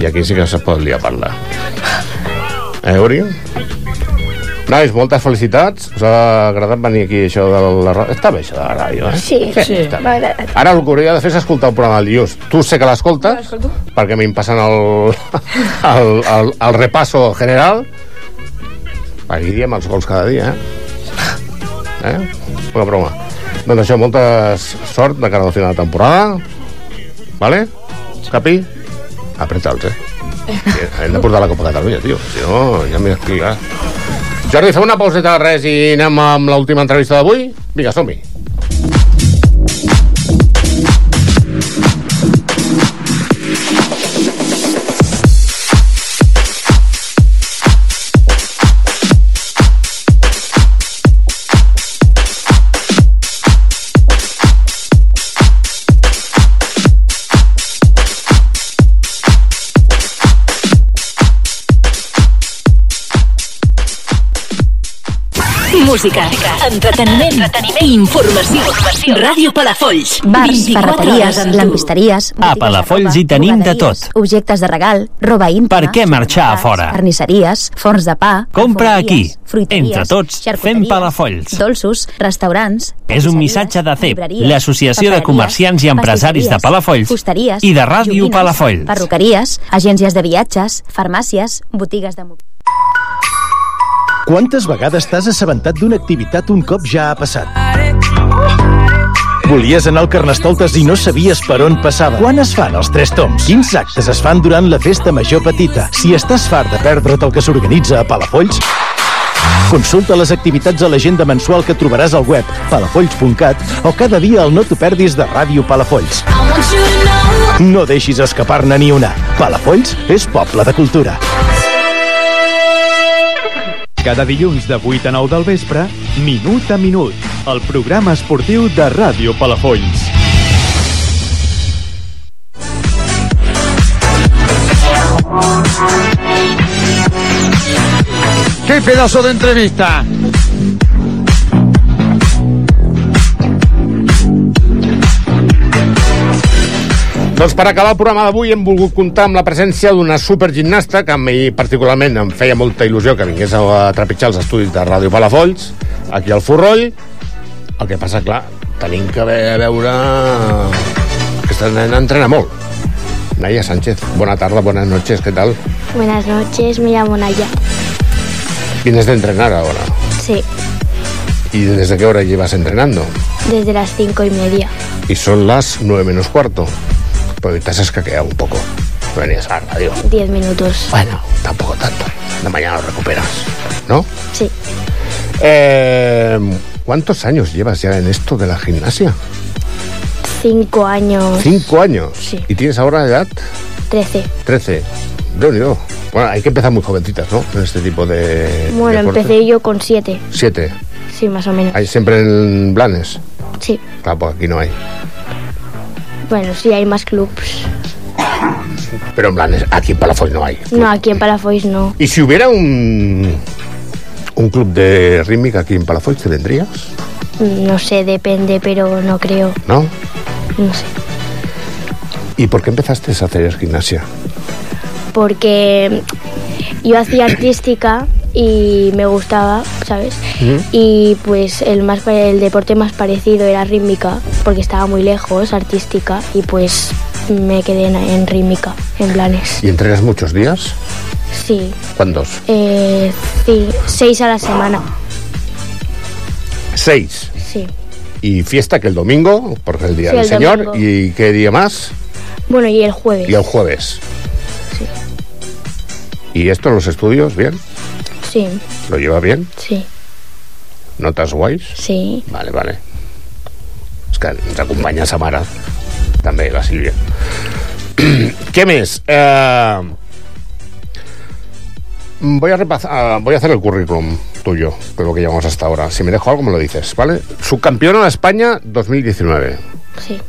I aquí sí que se pot liar a parlar. Eh, Uri? Nois, moltes felicitats. Us ha agradat venir aquí, això de la ràdio? Està bé, això de la ràdio, eh? Sí, sí. està bé. m'ha agradat. Ara el que hauria de fer és escoltar el programa del dilluns. Tu sé que l'escoltes, perquè a mi em passen el, el, el, el repasso general. Aquí diem els gols cada dia, eh? Eh? Una broma. Doncs això, molta sort de cara al final de temporada. Vale? Capi? Apreta'ls, eh? Hem de portar la Copa Catalunya, tio. Si no, ja m'hi explica. Jordi, fem una pauseta de res i anem amb l'última entrevista d'avui? Vinga, som-hi. Música, entreteniment, entreteniment i informació. Ràdio Palafolls. Bars, 24 ferreteries, hores amb tu. lampisteries, A Palafolls hi tenim de tot. objectes de regal, roba íntima, Per què marxar a fora? carnisseries, forns de pa, Compra aquí. fruiteries, Entre tots, fem Palafolls. dolços, restaurants, És un missatge de CEP, llibreries, l'Associació de papereries, Comerciants i Empresaris de pastisseries, Palafolls fusteries, i de Ràdio joguines, Palafolls. perruqueries, agències de viatges, farmàcies, botigues de mobiliari. Quantes vegades t'has assabentat d'una activitat un cop ja ha passat? Volies anar al Carnestoltes i no sabies per on passava. Quan es fan els tres toms? Quins actes es fan durant la festa major petita? Si estàs fart de perdre't el que s'organitza a Palafolls, consulta les activitats a l'agenda mensual que trobaràs al web palafolls.cat o cada dia al No t'ho perdis de Ràdio Palafolls. No deixis escapar-ne ni una. Palafolls és poble de cultura. Cada dilluns de 8 a 9 del vespre, Minut a Minut, el programa esportiu de Ràdio Palafolls. ¡Qué pedazo de entrevista! Doncs per acabar el programa d'avui hem volgut comptar amb la presència d'una supergimnasta que a mi particularment em feia molta il·lusió que vingués a trepitjar els estudis de Ràdio Palafolls, aquí al Forroll. El que passa, clar, tenim que ve a veure... Aquesta nena entrena molt. Naya Sánchez, bona tarda, buenas noches, què tal? Buenas noches, me llamo Naya. Vienes de entrenar ahora. Sí, ¿Y desde qué hora llevas entrenando? desde las cinco y media. Y son las 9 menos cuarto. Pues te has escaqueado un poco. Venías a la radio. Diez minutos. Bueno, tampoco tanto. De mañana lo recuperas, ¿no? Sí. Eh, ¿Cuántos años llevas ya en esto de la gimnasia? Cinco años. Cinco años. Pues, Sí. ¿Y tienes ahora edad? Trece. Eh, 13. Dios mío. Bueno, hay que empezar muy jovencitas, ¿no? En este tipo de. Bueno, empecé yo con siete. Siete. Sí, más o menos. Hay siempre en Blanes. Sí. Claro, pues aquí no hay. Bueno, sí, hay más clubs. Pero en Blanes, aquí en Palafoy no hay. No, aquí en Palafois no. ¿Y si hubiera un, un club de rítmica aquí en Palafoy, te vendrías? No sé, depende, pero no creo. ¿No? No sé. ¿Y por qué empezaste a hacer gimnasia? Porque yo hacía artística y me gustaba, ¿sabes? Y pues el, más, pare- el deporte más parecido era rítmica, porque estaba muy lejos, artística, y pues me quedé en, en rítmica, en planes. ¿Y entrenas muchos días? Sí, ¿Cuántos? eh, sí, seis a la semana, Seis. sí. Y fiesta que el domingo, porque es el día Sí, del el Señor. domingo. ¿Y qué día más? Bueno, y el jueves. Y el jueves. ¿Y esto en los estudios? ¿Bien? Sí, ¿Lo lleva bien? sí, ¿Notas guais? sí. Vale, vale. És que ens acompanya sa mare, també, la Sílvia. ¿Qué més? Eh, voy, a repasar, voy a hacer el currículum tuyo, de lo que llevamos hasta ahora. Si me dejo algo, me lo dices, ¿vale? Subcampeona de España 2019. Sí.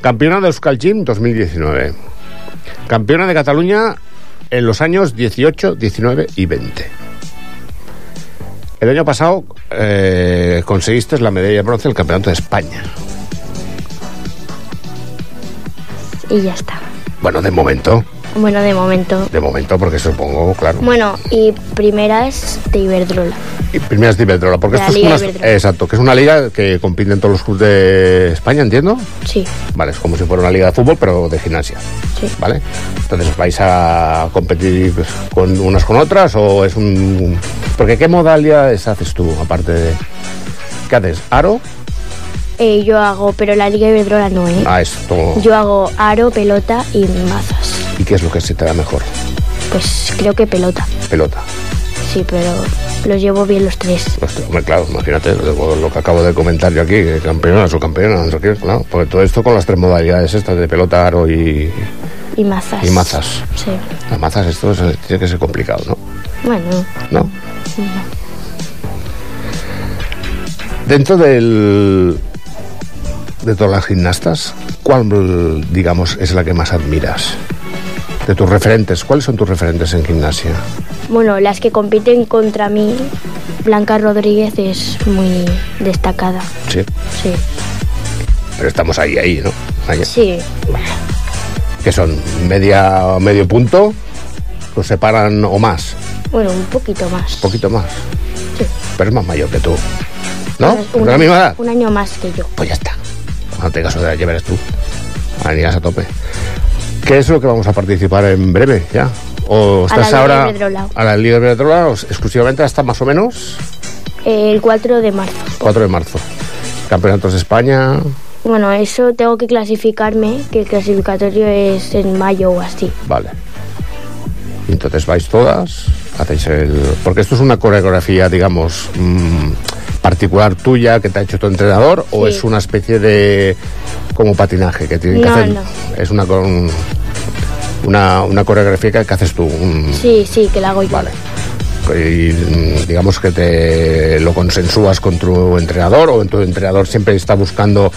Campeona de Euskal Gym 2019. Campeona de Cataluña en los años 18, 19 y 20. El año pasado eh, conseguiste la medalla de bronce en el Campeonato de España. Y ya está. Bueno, de momento, Bueno, de momento. de momento, porque supongo, claro. Bueno, y primera es de Iberdrola. Y primeras de Iberdrola, porque La esto es Liga una, Iberdrola. exacto, que es una liga que compite en todos los clubes de España, entiendo. Sí, Vale, es como si fuera una liga de fútbol, pero de gimnasia. sí. ¿Vale? Entonces, ¿vais a competir con unas con otras o es un...? Porque ¿qué modalidades haces tú, aparte de...? ¿Qué haces? ¿Aro? Eh, yo hago, pero la Liga Iberdrola no, ¿eh? Ah, esto... Yo hago aro, pelota y mazas. ¿Y qué es lo que se te da mejor? Pues creo que pelota. Pelota. Sí, pero los llevo bien los tres. Hostia, hombre, claro, imagínate lo, lo que acabo de comentar yo aquí, que campeona, subcampeona, no sé qué, claro. Porque todo esto con las tres modalidades estas de pelota, aro y, Y mazas. y mazas. Sí. Las mazas esto es- tiene que ser complicado, ¿no? Bueno. ¿No? Dentro del de todas las gimnastas, ¿cuál digamos es la que más admiras? De tus referentes, ¿cuáles son tus referentes en gimnasia? Bueno, las que compiten contra mí, Blanca Rodríguez es muy destacada. Sí, Sí. pero estamos ahí, ahí, ¿no? Ahí. Sí. Que son media medio punto, los separan o más, Bueno, un poquito más. un poquito más. Sí. Pero es más mayor que tú, ¿no? Bueno, ¿Es de la misma edad? un año más que yo. Pues ya está. No tengas otra, ya verás tú. Anirás a tope. ¿Qué es lo que vamos a participar en breve ya? ¿O A la estás Liga ahora Iberdrola. a la Liga Iberdrola o exclusivamente hasta más o menos Eh, El 4 de marzo. 4 de marzo? Campeonatos de España. Bueno, eso tengo que clasificarme, que el clasificatorio es en mayo o así. Vale. Entonces vais todas, hacéis el... Porque esto es una coreografía, digamos, mm, particular tuya que te ha hecho tu entrenador o Sí. es una especie de... como patinaje que tienen que No, hacer... no. Es una, con- una, una coreografía que, que haces tú. un- Sí, sí, que la hago yo. Mm. Vale. y, mm, digamos que te lo consensúas con tu entrenador o tu entrenador siempre está buscando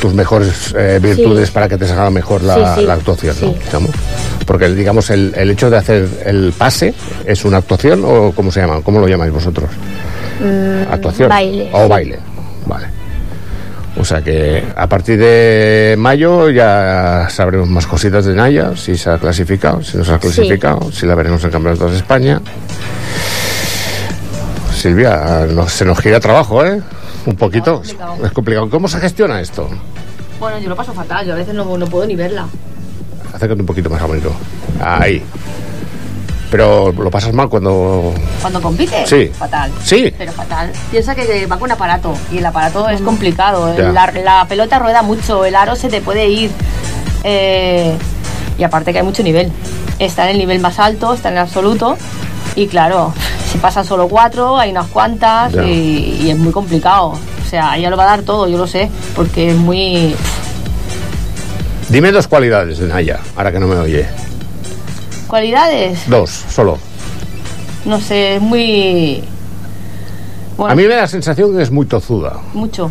tus mejores eh, virtudes para que te salga mejor la, Sí, sí. la actuación, ¿no? Sí. Digamos. Porque el- digamos el, el hecho de hacer el pase es una actuación o cómo se llama, cómo lo llamáis vosotros, Mm, actuación Baile. o baile, vale. O sea que a partir de mayo ya sabremos más cositas de Naya, si se ha clasificado, si no se ha clasificado, si la veremos en Campeonatos de España. Silvia, no- se nos gira trabajo, ¿eh? Un poquito. Es complicado. ¿Cómo se gestiona esto? Bueno, yo lo paso fatal, yo a veces no, no puedo ni verla. Acércate un poquito más al micro. Ahí. Pero lo pasas mal cuando... Cuando compite, Sí. fatal. Sí. Pero fatal. Piensa que va con un aparato y el aparato es complicado. Ya. La, la pelota rueda mucho, el aro se te puede ir. Eh, y aparte que hay mucho nivel. Está en el nivel más alto, está en el absoluto. Y claro, se pasan solo cuatro, hay unas cuantas Ya. y, y es muy complicado. O sea, ella lo va a dar todo, yo lo sé, porque es muy... Dime dos cualidades de Naya, ahora que no me oye. Cualidades, Dos, solo. no sé, es muy... Bueno. A mí me da la sensación que es muy tozuda. mucho.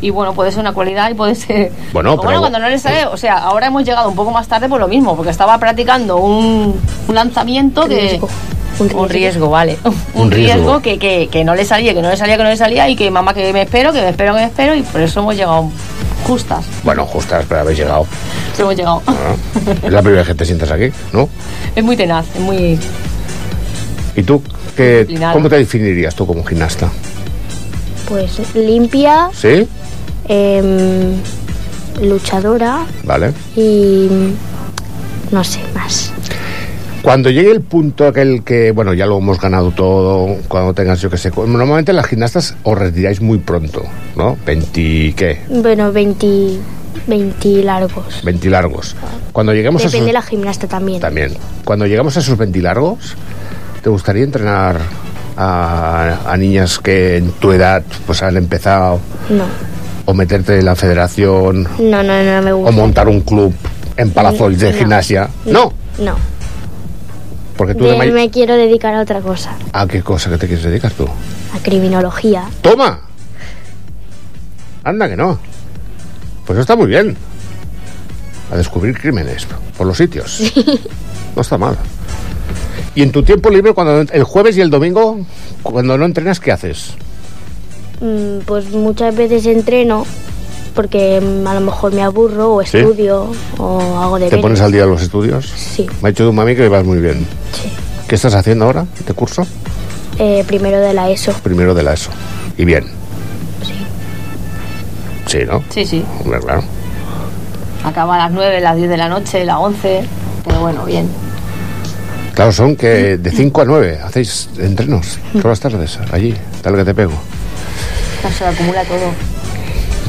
Y bueno, puede ser una cualidad y puede ser... Bueno, O pero- cuando no le sale... O sea, ahora hemos llegado un poco más tarde por lo mismo, porque estaba practicando un, un lanzamiento que... Un riesgo. vale. Un, riesgo, que, que, que no le salía, que no le salía, que no le salía y que mamá que me espero, que me espero, que me espero y por eso hemos llegado justas. Bueno, justas, pero habéis llegado. Sí, hemos llegado. Ah, Es la primera vez que te sientas aquí, ¿no? Es muy tenaz, es muy... ¿Y tú? ¿Qué, Disciplinada. ¿Cómo te definirías tú como gimnasta? Pues limpia, ¿Sí? em, luchadora Vale. y mm, no sé más. Cuando llegue el punto aquel que, bueno, ya lo hemos ganado todo, cuando tengas, yo qué sé, cu- normalmente las gimnastas os retiráis muy pronto, ¿no? 20, ¿qué? Bueno, 22 20 largos. 20 largos. Cuando lleguemos a Depende esos... de la gimnasta también. También. Cuando llegamos a esos 20 largos, ¿te gustaría entrenar a, a niñas que en tu edad pues han empezado No. o meterte en la federación No, no, no me o gusta. montar un club en Palafols de No. gimnasia? No, No. porque tú De- de mai- Me quiero dedicar a otra cosa, ¿A qué cosa que te quieres dedicar tú? a criminología. ¡Toma! Anda que no. Pues está muy bien. A descubrir crímenes por los sitios. No está mal. Y en tu tiempo libre, cuando el jueves y el domingo, cuando no entrenas, ¿qué haces? Mm, Pues muchas veces entreno porque mm, a lo mejor me aburro o ¿Sí? estudio o hago de ¿Te pones al día de los estudios? Sí, Me ha dicho tu mami que vas muy bien. ¿Qué estás haciendo ahora? ¿Te curso? eh, primero de la ESO. Primero de la ESO. ¿Y bien? Sí. Sí, ¿no? Sí, sí. Hombre, claro. Acaba a las 9, las 10 de la noche, las 11. Pues Pero bueno, bien. Claro, son que de 5 a 9 hacéis entrenos todas las tardes allí, tal que te pego. Se acumula todo.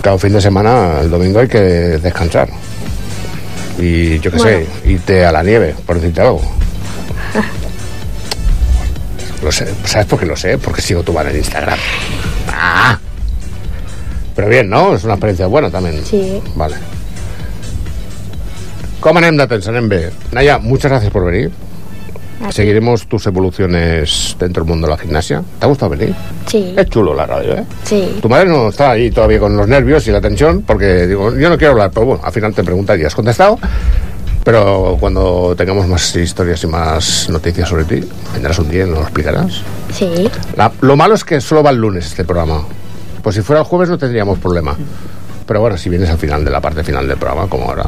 Claro, fin de semana, el domingo hay que descansar. Y yo qué Bueno. sé, irte a la nieve, por decirte algo. Lo sé, ¿sabes por qué lo sé? Porque sigo tu bar en Instagram. ¡Ah! Pero bien, ¿no? Es una experiencia buena también. Sí. Vale. Com anem de temps? Anem bé. Naya, muchas gracias por venir. Seguiremos tus evoluciones dentro del mundo de la gimnasia. ¿Te ha gustado venir? Sí, Es chulo la radio, ¿eh? sí. Tu madre no está ahí todavía con los nervios y la tensión, porque digo, yo no quiero hablar, pero bueno, al final te preguntas y has contestado. Pero cuando tengamos más historias y más noticias sobre ti, vendrás un día y nos lo explicarás. Sí. La- lo malo es que solo va el lunes este programa. Pues si fuera el jueves no tendríamos problema. Pero bueno, si vienes al final de la parte final del programa, como ahora.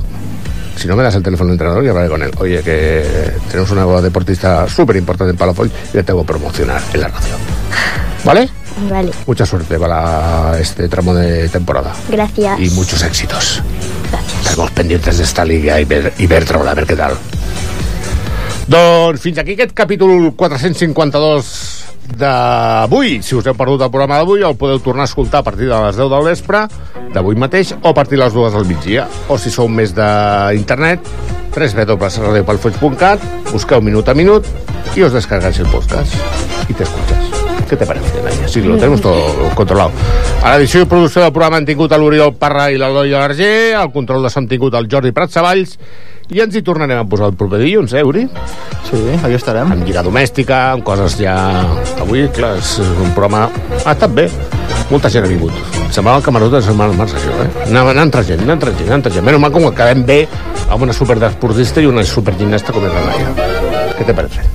Si no me das el teléfono del entrenador y hablaré con él. Oye, que tenemos una deportista súper importante en Palafoll y le tengo que promocionar en la radio. ¿Vale? Vale, Mucha suerte para este tramo de temporada. gracias. Y muchos éxitos. Estaremos pendientes de esta liga i ver, i veure-la, a veure què tal. Doncs fins aquí aquest capítol 452 d'avui. Si us heu perdut el programa d'avui, el podeu tornar a escoltar a partir de les 10 del vespre, d'avui mateix, o a partir de les 2 del migdia. O si sou més d'internet, www.radiopalfolls.cat, busqueu minut a minut i us descargáis el podcast. I t'escoltes. Què te parece, Naya? Sí, lo tenemos todo controlado. A l'edició i producció del programa han tingut a l'Oriol Parra i l'Eloi Alargé, al control de s'han tingut el Jordi Prat Savalls, i ens hi tornarem a posar el proper dilluns, eh, Uri? Sí, aquí estarem. Amb lliga domèstica, amb coses ja... Avui, clar, és un programa... Ha estat bé. Molta gent ha vingut. Semblava el camarot de Sant Març, això, eh? Anava anant entrant gent, anant entrant gent, anant entrant gent. Menys mal com que quedem bé amb una superdesportista i una supergimnasta com és la Laia. Què te parece?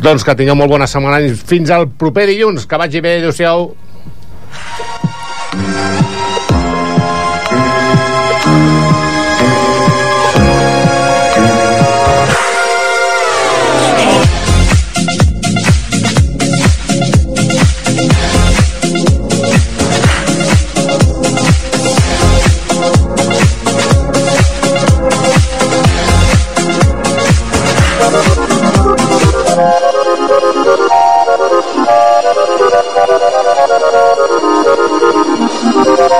Doncs que tingueu molt bona setmana i fins al proper dilluns. Que vagi bé, adéu-siau. Thank you.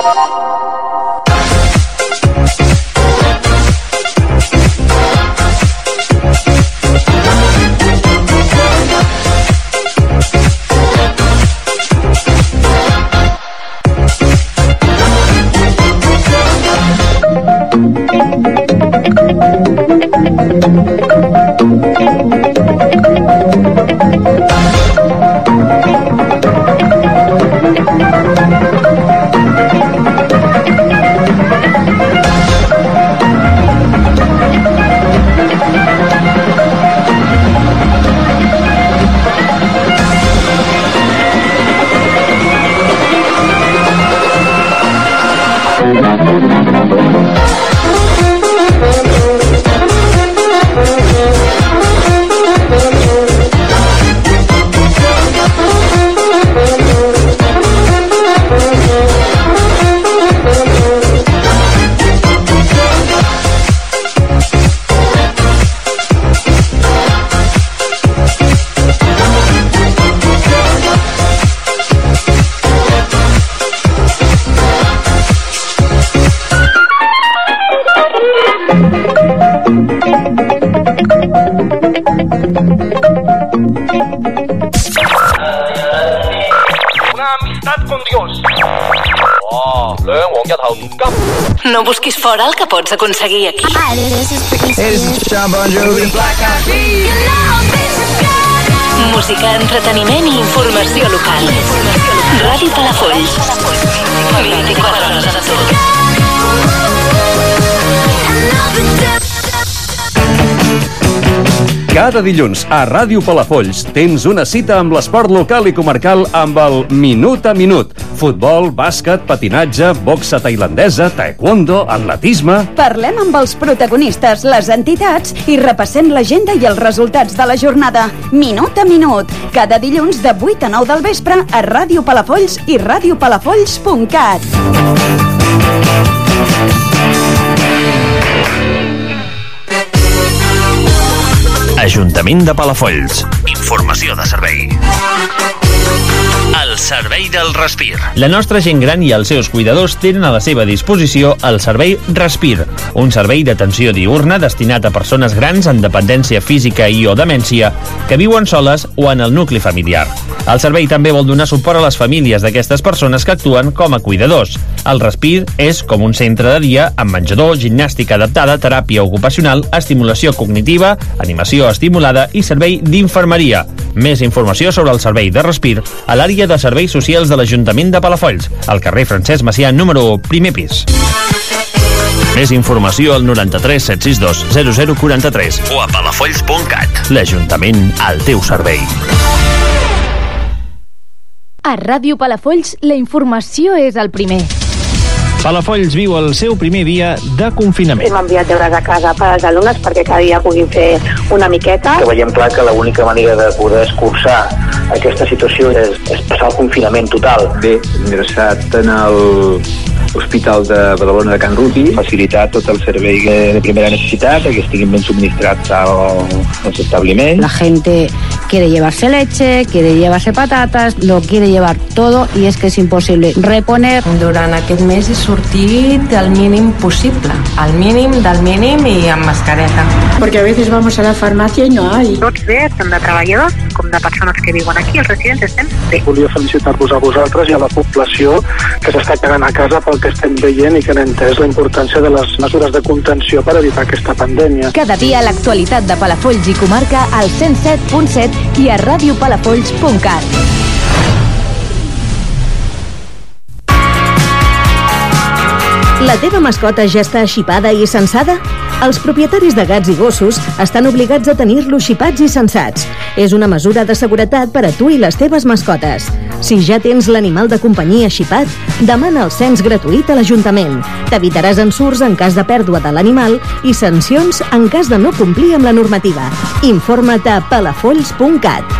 No busquis fora el que pots aconseguir aquí. Música, entreteniment i informació local. Ràdio Palafolls. 24 hores a tu. Cada dilluns a Ràdio Palafolls tens una cita amb l'esport local i comarcal amb el Minut a Minut. Futbol, bàsquet, patinatge, boxa tailandesa, taekwondo, atletisme... Parlem amb els protagonistes, les entitats i repassem l'agenda i els resultats de la jornada. Minut a minut. Cada dilluns de 8 a 9 del vespre a Ràdio Palafolls i radiopalafolls.cat. Ajuntament de Palafolls. Informació de servei. El servei del Respir. La nostra gent gran i els seus cuidadors tenen a la seva disposició el servei Respir, un servei d'atenció diurna destinat a persones grans amb dependència física i o demència que viuen soles o en el nucli familiar. El servei també vol donar suport a les famílies d'aquestes persones que actuen com a cuidadors. El Respir és com un centre de dia amb menjador, gimnàstica adaptada, teràpia ocupacional, estimulació cognitiva, animació estimulada i servei d'infermeria. Més informació sobre el servei de Respir a l'àrea de serveis socials de l'Ajuntament de Palafolls, al carrer Francesc Macià número 1, primer pis. Més informació al 93 762 0043 o a palafolls.cat. L'Ajuntament al teu servei. A Ràdio Palafolls, la informació és el primer. Palafolls viu el seu primer dia de Hem confinament. enviat deures a casa per als alumnes perquè cada dia puguin fer una miqueta. que veiem clar que l'única manera de poder escurçar aquesta situació és, és passar el confinament total. Bé, ingressat en el Hospital de Badalona de Can Ruti, facilitar tot el servei de primera necessitat, que estiguin ben subministrats al- als establiments. La gente quiere llevarse leche, quiere llevarse patatas, lo quiere llevar todo y es que es imposible reponer. Durant aquest mes he sortit el mínim possible, el mínim del mínim i amb mascareta. Porque a veces vamos a la farmacia y no hay. Tots bé, tant de treballadors com de persones que viuen aquí, els residents estem bé. Volia felicitar-vos a vosaltres i a la població que s'està quedant a casa pel que estem veient i que han entès la importància de les mesures de contenció per evitar aquesta pandèmia. Cada dia l'actualitat de Palafolls i comarca al 107.7 i a radiopalafolls.cat. La teva mascota ja està xipada i censada? Els propietaris de gats i gossos estan obligats a tenir-los xipats i censats. És una mesura de seguretat per a tu i les teves mascotes. Si ja tens l'animal de companyia xipat, demana el cens gratuït a l'Ajuntament. T'evitaràs ensurts en cas de pèrdua de l'animal i sancions en cas de no complir amb la normativa. Informa't a palafolls.cat.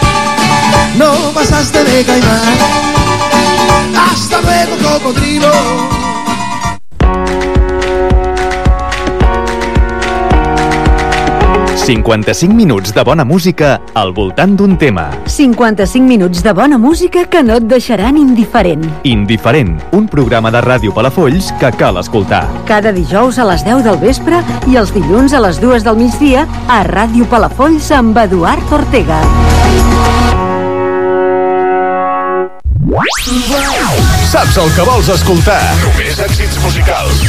No pasaste de caimán. Hasta luego, cocodrilo. Palafolls. 55 minuts de bona música al voltant d'un tema. 55 minuts de bona música que no et deixaran indiferent. Indiferent, un programa de ràdio Palafolls que cal escoltar. Cada dijous a les 10 del vespre i els dilluns a les 2 del migdia a Ràdio Palafolls amb Eduard Ortega. Saps el que vols escoltar? Només èxits musicals.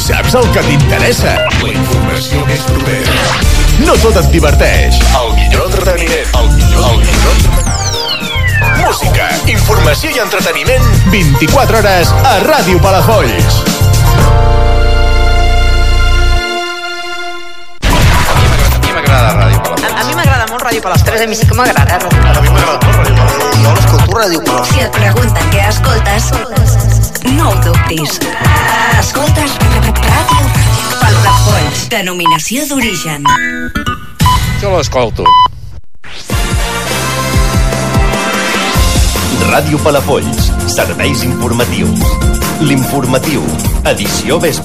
Saps el que t'interessa? La informació més propera. No tot et diverteix. El millor entreteniment. El millor, el millor entreteniment. Música, informació i entreteniment 24 hores a Ràdio Palafolls. A, a mi m'agrada molt Ràdio Palafolls. A mi sí que m'agrada. A mi m'agrada molt Ràdio Palafolls. Jo l'escolto Ràdio Palafolls. Si et pregunten què escoltes, no ho dubtis. Escoltes Ràdio Palafolls. Denominació d'origen. Jo l'escolto. Ràdio Palafolls, serveis informatius. L'informatiu, edició vespre.